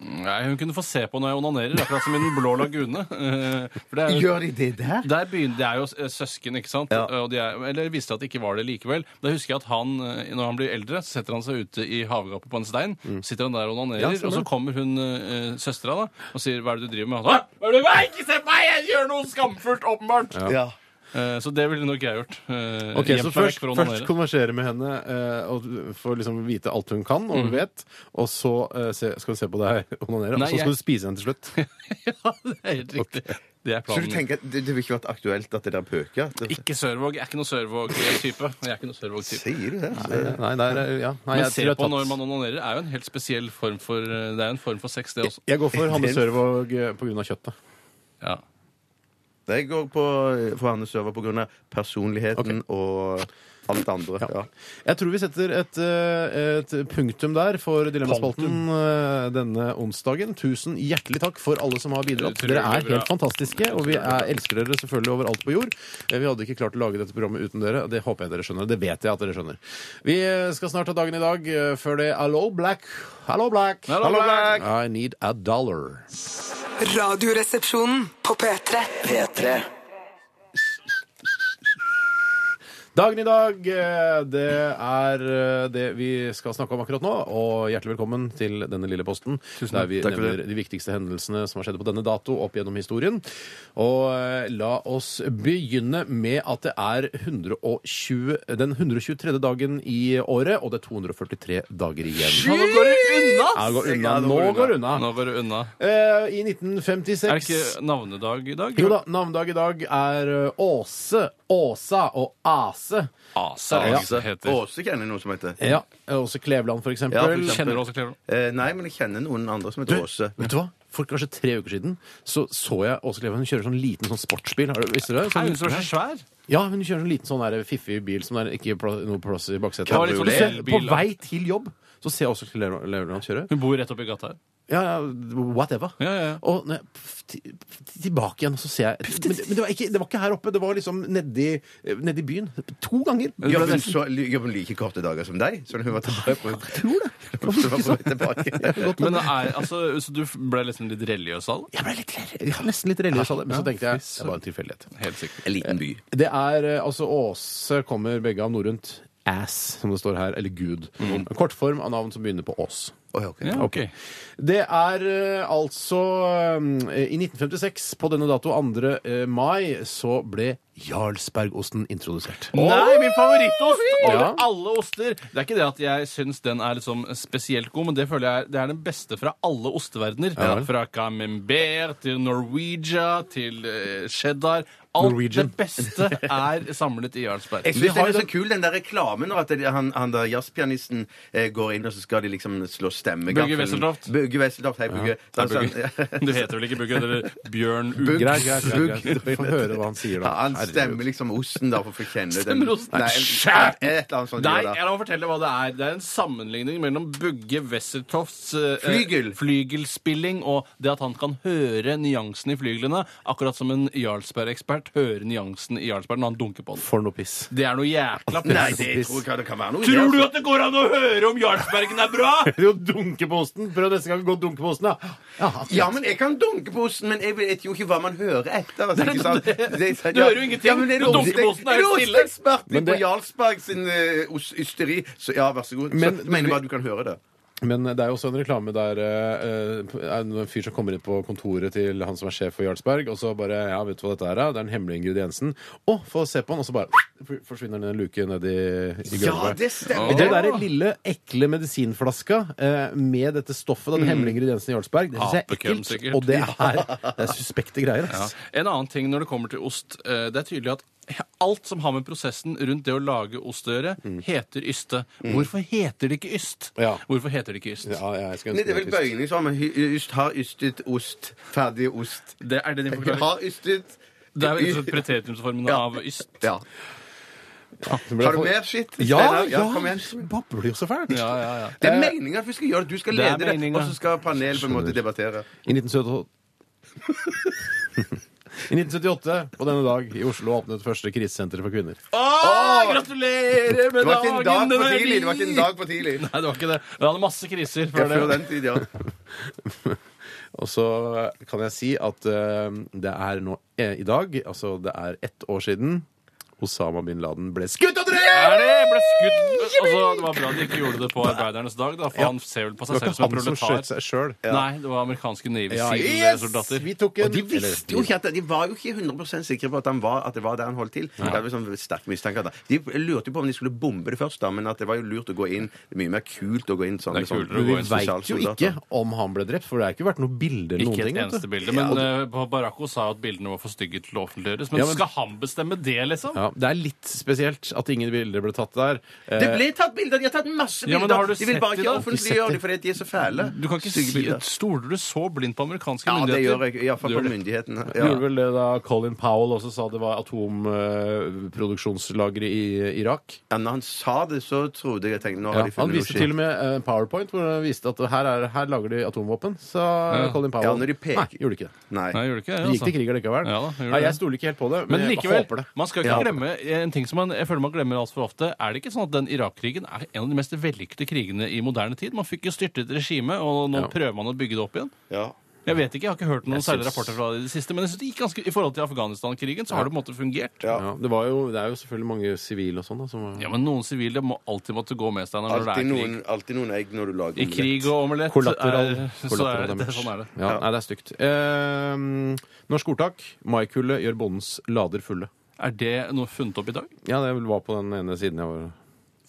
Nei, hun kunne få se på når jeg onanerer, akkurat som i Den blå lagune. Eh, For det er jo
Gjør de det der?
der begynner, Det er jo s- eh, søsken, ikke sant? Eh, Og de er, eller visste at det ikke var det likevel. Da husker jeg at han, eh, når han blir eldre, så setter han seg ute i havgapet på en stein. Sitter han der og
Mm.
onanerer,
Ja, stemmer.
og så kommer hun eh, søstera da, og sier 'hva er det du driver med?' Og han sa, «Hva er det du gjør? Ikke se på meg! Jeg gjør noe skamfullt, åpenbart!
Ja.
Eh, så det ville nok jeg gjort. Eh,
Ok,
gjemt
Så
meg
først,
vekk for å
først
onanere.
konversere med henne eh, og få liksom vite alt hun kan og vet, og så eh, se, skal du se på deg onanere, og
Mm. Nei,
så
jeg-
skal du spise henne til slutt.
ja, det er helt riktig. Det er
Så du
planen.
tenker at det, det vil ikke vært aktuelt at det der pøker? At det-
Ikke Sørvåg. Jeg er ikke noe Sørvåg-type. Jeg er ikke noe Sørvåg-type.
Sier du det?
Nei, der, er- ja. Nei,
Men
jeg
se
tror jeg tatt-
på når man onanerer er jo en helt spesiell form for Det er jo en form for sex, det også.
Jeg går for Hanne Sørvåg eh, på grunn av kjøttet.
Ja.
Jeg går på, eh, for Hanne Sørvåg på grunn av personligheten og alt det andre. Ja.
Jeg tror vi setter et, eh, et punktum der for Dilemmaspalten eh, denne onsdagen. Tusen hjertelig takk for alle som har bidratt.
Utrolig
Dere er
bra.
helt fantastiske, og vi er, elsker dere selvfølgelig overalt på jord. Eh, Vi hadde ikke klart å lage dette programmet uten dere. og Det håper jeg dere skjønner. Det vet jeg at dere skjønner. Vi eh, skal snart ta dagen i dag. eh, Før det Hello Black. Hello Black.
Hello, Black.
I need a dollar.
Radioresepsjonen på P3.
P3.
Dagen i dag, eh, det er eh, det vi skal snakke om akkurat nå. Og hjertelig velkommen til denne lille posten. der vi
takk for
nevner de viktigste hendelsene som har skjedd på denne dato opp gjennom historien. Og eh, la oss begynne med at det er 120, den 123. dagen i året, og det er 243 dager igjen.
Nå går det unna!
Ja, det går unna.
Ja, det går
Nå
unna.
går det unna.
Nå går det unna.
Eh, I
Er det
1956
ikke navnedag i dag?
Jo da, navnedag i dag er eh, Åse, Åsa og Ase.
Ase,
Ja.
Ase heter.
Åse kjenner noen som heter
Ja, Åse Kleveland, for eksempel.
Ja, for eksempel.
Kjenner Åse Kleveland?
Eh, Nei, men jeg kjenner noen andre som heter Åse.
Vet du hva? For kanskje tre uker siden så, så jeg Åse Kleveland. Hun kjører sånn liten sånn sportsbil. Har du, visste du det?
Er hun
Sånn,
som er så svær?
ja, hun kjører sånn liten sånn der fiffig bil som det er ikke pla- noe plass i baksetet.
var litt
Du
sånn
ser- På
elbil, da.
vei til jobb så ser jeg Åse Kleveland kjøre.
Hun bor rett oppi gata her.
Ja, ja, whatever.
Ja, ja, ja.
Og når jeg, pff, ti- pff, tilbake igjen, og så ser jeg Men, men det, var ikke, det var ikke her oppe, det var liksom nedi, nedi byen. To ganger.
Jobber hun så- jobber hun like korte dager som deg? Så hun var tilbake på
tror det.
Hun var på vei tilbake.
Men er, altså, så du ble liksom litt religiøs av det?
Jeg ble litt, jeg var nesten litt religiøs av det, men så tenkte jeg det var en tilfeldighet.
Helt sikkert.
En liten by.
Det er eh, altså Åse kommer begge av norrønt ass, som det står her, eller Gud. En Kortform av navn som begynner på Ås.
Oi, ok.
Ja, ok.
Det er eh, altså eh, I 1956, på denne dato, 2. eh, mai, så ble Jarlsbergosten introdusert.
Nei, min favorittost over
Ja.
alle oster! Det er ikke det at jeg syns den er liksom spesielt god, men det føler jeg er- det er den beste fra alle osteverdener.
vel.
Fra camembert til norwegia til eh, cheddar. Alt
Norwegian.
det beste er samlet i Jarlsberg. Det
Jeg syns den er så kul, den der reklamen når at det- han, han der jazzpianisten eh, går inn, og så skal de liksom slå stemmegaffelen.
Bugge Wesseltoft.
Bugge Wesseltoft. Hei, Bugge. Så han sa-
Du heter vel ikke Bugge? Eller Bjørn U...
Bugg.
Greit, greit, greit. greit.
Bugg.
Få høre hva han sier,
Ja,
da.
han stemmer liksom osten, da, for å få kjenne den.
Stemmer osten?
Nei,
Skjært!
et eller annet sånt.
Nei,
gjør
jeg
det.
la meg fortelle hva det er. Det er en sammenligning mellom Bugge Wesseltofts eh,
Flygel.
eh, flygelspilling og det at han kan høre nyansene i flyglene, akkurat som en Jarlsberg-ekspert hører nyansen i Jarlsberg når han dunker på den.
For noe piss.
Det er noe jækla piss.
Nei, det tror jeg ikke det kan være noe. i det,
Tror du
altså.
at det går an å høre om Jarlsbergen er bra?!
Jo, dunke på osten. Prøv neste gang å gå og dunke på osten, da. Ja,
Ja, men jeg kan dunke på osten, men jeg vet jo ikke hva man hører etter. Altså, ikke sant? Det-
Du hører jo ingenting.
Ja, men det er
Du dunker på osten, er helt stille.
Det er osteekspert
Men
på
det-
Jarlsberg sin eh, ost- ysteri, så ja, vær så god.
Men-
så, du mener bare du kan høre det.
Men det er jo også en reklame der eh, eh, en fyr som kommer inn på kontoret til han som er sjef for Jarlsberg, og så bare Ja, vet du hva dette er? da? Det er den hemmelige ingrediensen. Å, få se på den! Og så bare forsvinner den i en luke ned i, i
Ja,
gulvet.
det stemmer.
Og det derre lille, ekle medisinflaska eh, med dette stoffet,
Mm.
den hemmelige ingrediensen i Jarlsberg, det syns jeg er
Apekøm,
ekkelt.
sikkert.
Og det er, det er suspekte greier,
Ja.
ass.
En annen ting når det kommer til ost, eh, det er tydelig at alt som har med prosessen rundt det å lage ost å gjøre,
Mm.
heter yste. Hvorfor heter det ikke yst?
Ja.
Hvorfor heter det ikke yst?
Ja, jeg skulle
Nei, det er vel
ønske det.
bøyning som yst har ystet ost. Ferdig ost.
Det er det din forklaring.
Har ystet
Det er jo preteritumsformen av yst.
Ja.
Det ble
Har du
for-
mer skitt?
Ja,
Steinar?
ja!
kom igjen.
Du babler jo så fælt.
Ja, ja, ja.
Det er meningen at vi skal gjøre Eh, det. Du skal
Det er
lede det,
meningen.
og så skal panelet på en måte debattere.
I 1978 I 1978, på denne dag, i Oslo åpnet første krisesenter for kvinner.
Åh, gratulerer
Det
med
var ikke en dag
dagen!
for
den er
tidlig. Det var ikke en dag for tidlig.
Nei, det var ikke det. Det hadde masse kriser
Ja,
før det.
før den tid, ja.
Og så kan jeg si at eh, det er nå eh, i dag, altså det er ett år siden Osama bin Laden ble skutt og
Er
drept!
det ble skutt altså, Det var bra de ikke gjorde det på arbeidernes dag, da, for han ser vel på
Det var
seg selv
ikke
som en
han som skjøt
proletar.
seg sjøl.
Nei, det var amerikanske Navy
Ja, yes!
Seal-soldater.
Vi tok en
Og de visste jo
Eller,
ikke at De var jo ikke 100 sikre på at, han var, at det var der han holdt til. Det var sånn sterk mistanke at De lurte jo på om de skulle bombe det først, da, men at det var jo lurt å gå inn. Det er mye mer kult å gå inn sånn.
Det er
sånn-
kulere å
men
gå
vi
inn
veit jo ikke om han ble drept, for det har ikke vært noe bilde eller noen
Ikke et
ting. vet
eneste
du.
bilde. Men eh, Baracco sa at bildene var for stygge til å offentliggjøres.
Ja,
Men,
men-
skal han bestemme det, liksom?
Ja, det er litt spesielt at ingen bilder ble tatt der. Eh,
Det ble tatt bilder! De har tatt masse
Ja,
bilder!
men har du
de vil bare
sett det
ikke
da?
offentliggjøre dem fordi de er så fæle.
Du kan ikke
Stygge
si
bilder.
Stoler du så blindt på amerikanske
Ja, det
myndigheter?
gjør jeg. Iallfall
Du gjør
på
det.
myndighetene.
Ja.
Ja.
Gjorde vel det da Colin Powell også sa det var atomproduksjonslageret i Irak?
Ja, når han sa det, så trodde jeg jeg tenkte, nå
Ja,
har de
han
funnet noe
viste til
skitt.
og med eh, PowerPoint hvor han viste at her, er, her lager de atomvåpen. Sa Colin Powell.
Ja, når de peker-
Nei, gjorde de ikke det.
Nei.
Nei, gjorde ikke det,
De gikk til krig allikevel.
altså. Ja da, gjorde
Nei,
det.
jeg stoler ikke helt på det, men,
Men
jeg
likevel,
håper det.
man skal ikke
Ja.
glemme en ting som man, jeg føler man glemmer altfor ofte. Er det ikke sånn at den Irak-krigen er en av de mest vellykkede krigene i moderne tid? Man fikk jo styrtet regimet, og nå
Ja.
prøver man å bygge det opp igjen.
Ja.
Jeg vet ikke, jeg har ikke hørt noen
Jeg syns-
særlige rapporter fra det i det siste, men jeg synes det gikk ganske, i forhold til Afghanistan-krigen så har det på en måte fungert.
Ja. det, var jo, det er jo selvfølgelig mange sivile og sånn. da, som-
Ja, men noen sivile må alltid måtte gå med seg når det er
Alltid
krig.
noen, alltid noen egg når du lager
I krig og omelett
Kollateral.
er, så
Kollateral
er det,
damage.
sånn er det.
Ja, nei, det er stygt. Eh, norsk ordtak. Maikullet gjør bondens lader fulle.
Er det noe funnet opp i dag?
Ja, det var på den ene siden jeg var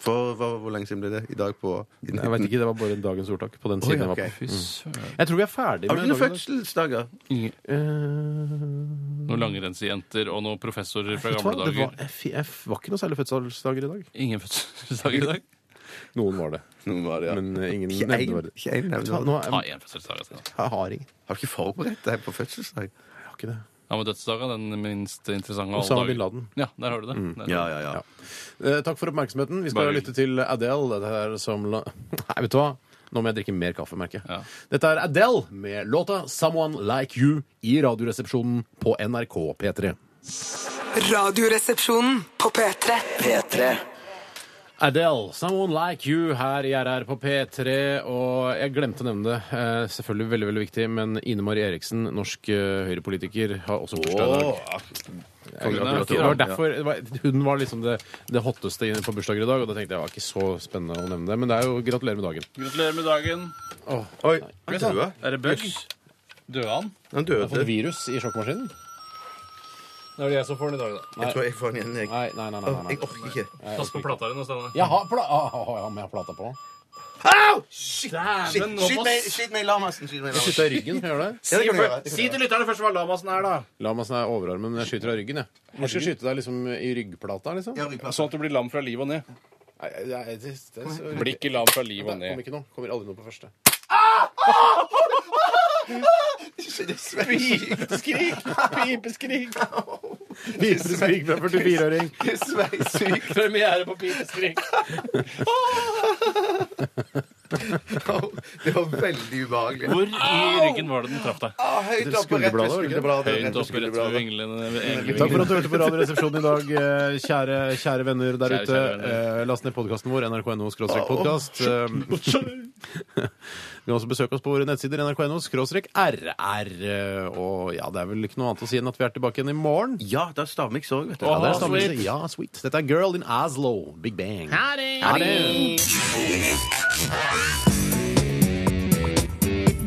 For hva, hvor lenge siden ble det? I dag på i
Jeg vet ikke, det var bare dagens ordtak. På den
Oi,
siden jeg var
ok.
på.
Fy søren.
Jeg tror vi er ferdig
Har du
med
ikke noen
dagens
fødselsdager?
Ingen-
Eh,
Noen langrennsjenter og noen professorer fra
vet du hva?
gamle
Det var,
dager.
jeg, f- jeg f- var ikke noe særlig fødselsdager i dag.
Ingen fødselsdag i dag.
Noen var det,
Noen var det, ja.
men eh, ingen
Ikke
nevnte
en-
var det.
ikke en
Vet du hva?
nevner.
Nå er,
Ta én fødselsdag. altså.
jeg har ingen.
Har ikke forberedt deg på
Jeg
fødselsdag?
har ikke det.
Ja, men dødsdagen er den minst interessante av
Osama
alle
bin
dager.
Laden. Mm.
Ja, der har du det. Der.
Ja, ja, ja.
Eh, takk for oppmerksomheten. Vi skal
Bare-
lytte til Adele. Dette er som la... Nei, vet du hva? Nå må jeg drikke mer kaffe, merker jeg.
Ja.
Dette er Adele med låta 'Someone Like You' i Radioresepsjonen på NRK P3.
Radioresepsjonen på P3.
P3.
Adele, 'Someone Like You' her i RR på P3. Og jeg glemte å nevne det. Eh, selvfølgelig veldig veldig viktig, men Ine Marie Eriksen, norsk eh, høyrepolitiker, har også bursdag i dag. Det var derfor det var, Hun var liksom det, det hotteste inn på bursdager i dag, og da tenkte jeg det var ikke så spennende å nevne det. Men det er jo gratulerer med dagen.
Gratulerer med dagen.
Oi, han døde.
Er det bug? Døde han?
Han
Jeg har fått
døde.
virus i sjokkemaskinen. Det er det jeg som får den i dag, da.
Jeg tror jeg får han igjen, jeg.
Nei, nei, nei. nei, nei,
Jeg
nei.
orker ikke.
Pass på plata di nå, Steinar.
Jeg har pla ah, ah, ja, men jeg har plata på.
Skyt- Skyt meg- skyt meg i lamasen. Skyt meg i lamasen.
Skyter av ryggen. Kan jeg gjøre det?
Ja, det kan du gjøre, det kan du gjøre.
til lytterne først hva lamasen er, da.
La meg sånn overarmen, men jeg skyter av ryggen, jeg. Jeg skal skyte deg liksom i ryggplata, liksom.
Ja, ryggplata.
Sånn at du blir lam fra livet og ned.
Nei, det er- det- det er så-
Blir ikke lam fra
Det
livet og
kommer
ned.
ikke noe. Kommer aldri noe på første.
Pipeskrik! Pipeskrik!
Viseskrik fra 44-åring.
Premiere på pipeskrik.
Det var veldig ubehagelig.
Hvor i ryggen var det den traff deg?
Ah, høyt oppe, rett ved
Skulderbladet, var det ikke det?
skulderbladet.
Høyt oppe rett ved
skulderbladet.
vinglene.
Takk for at
englevingene.
du hørte på Radioresepsjonen i dag, eh, kjære, kjære venner der
Kjære,
ute.
kjære venner.
Eh, Last ned podkasten vår, nrk.no podkast. Eh, Du kan også besøke oss på våre nettsider, nrk.no rr. eh, Og ja, det er vel ikke noe annet å si enn at vi er tilbake igjen i morgen.
Ja, da stammer jeg sorg, vet du.
Åh,
Ja, det er stammis-
Oh, sweet.
ja, sweet. Dette er Girl in Aslo. Big Bang.
Ha det!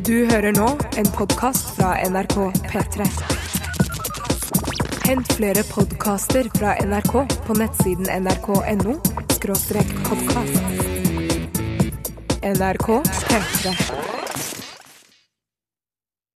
Du hører nå en podkast fra NRK P3. Hent flere podkaster fra NRK på nettsiden nrk.no podkast. NRK P3.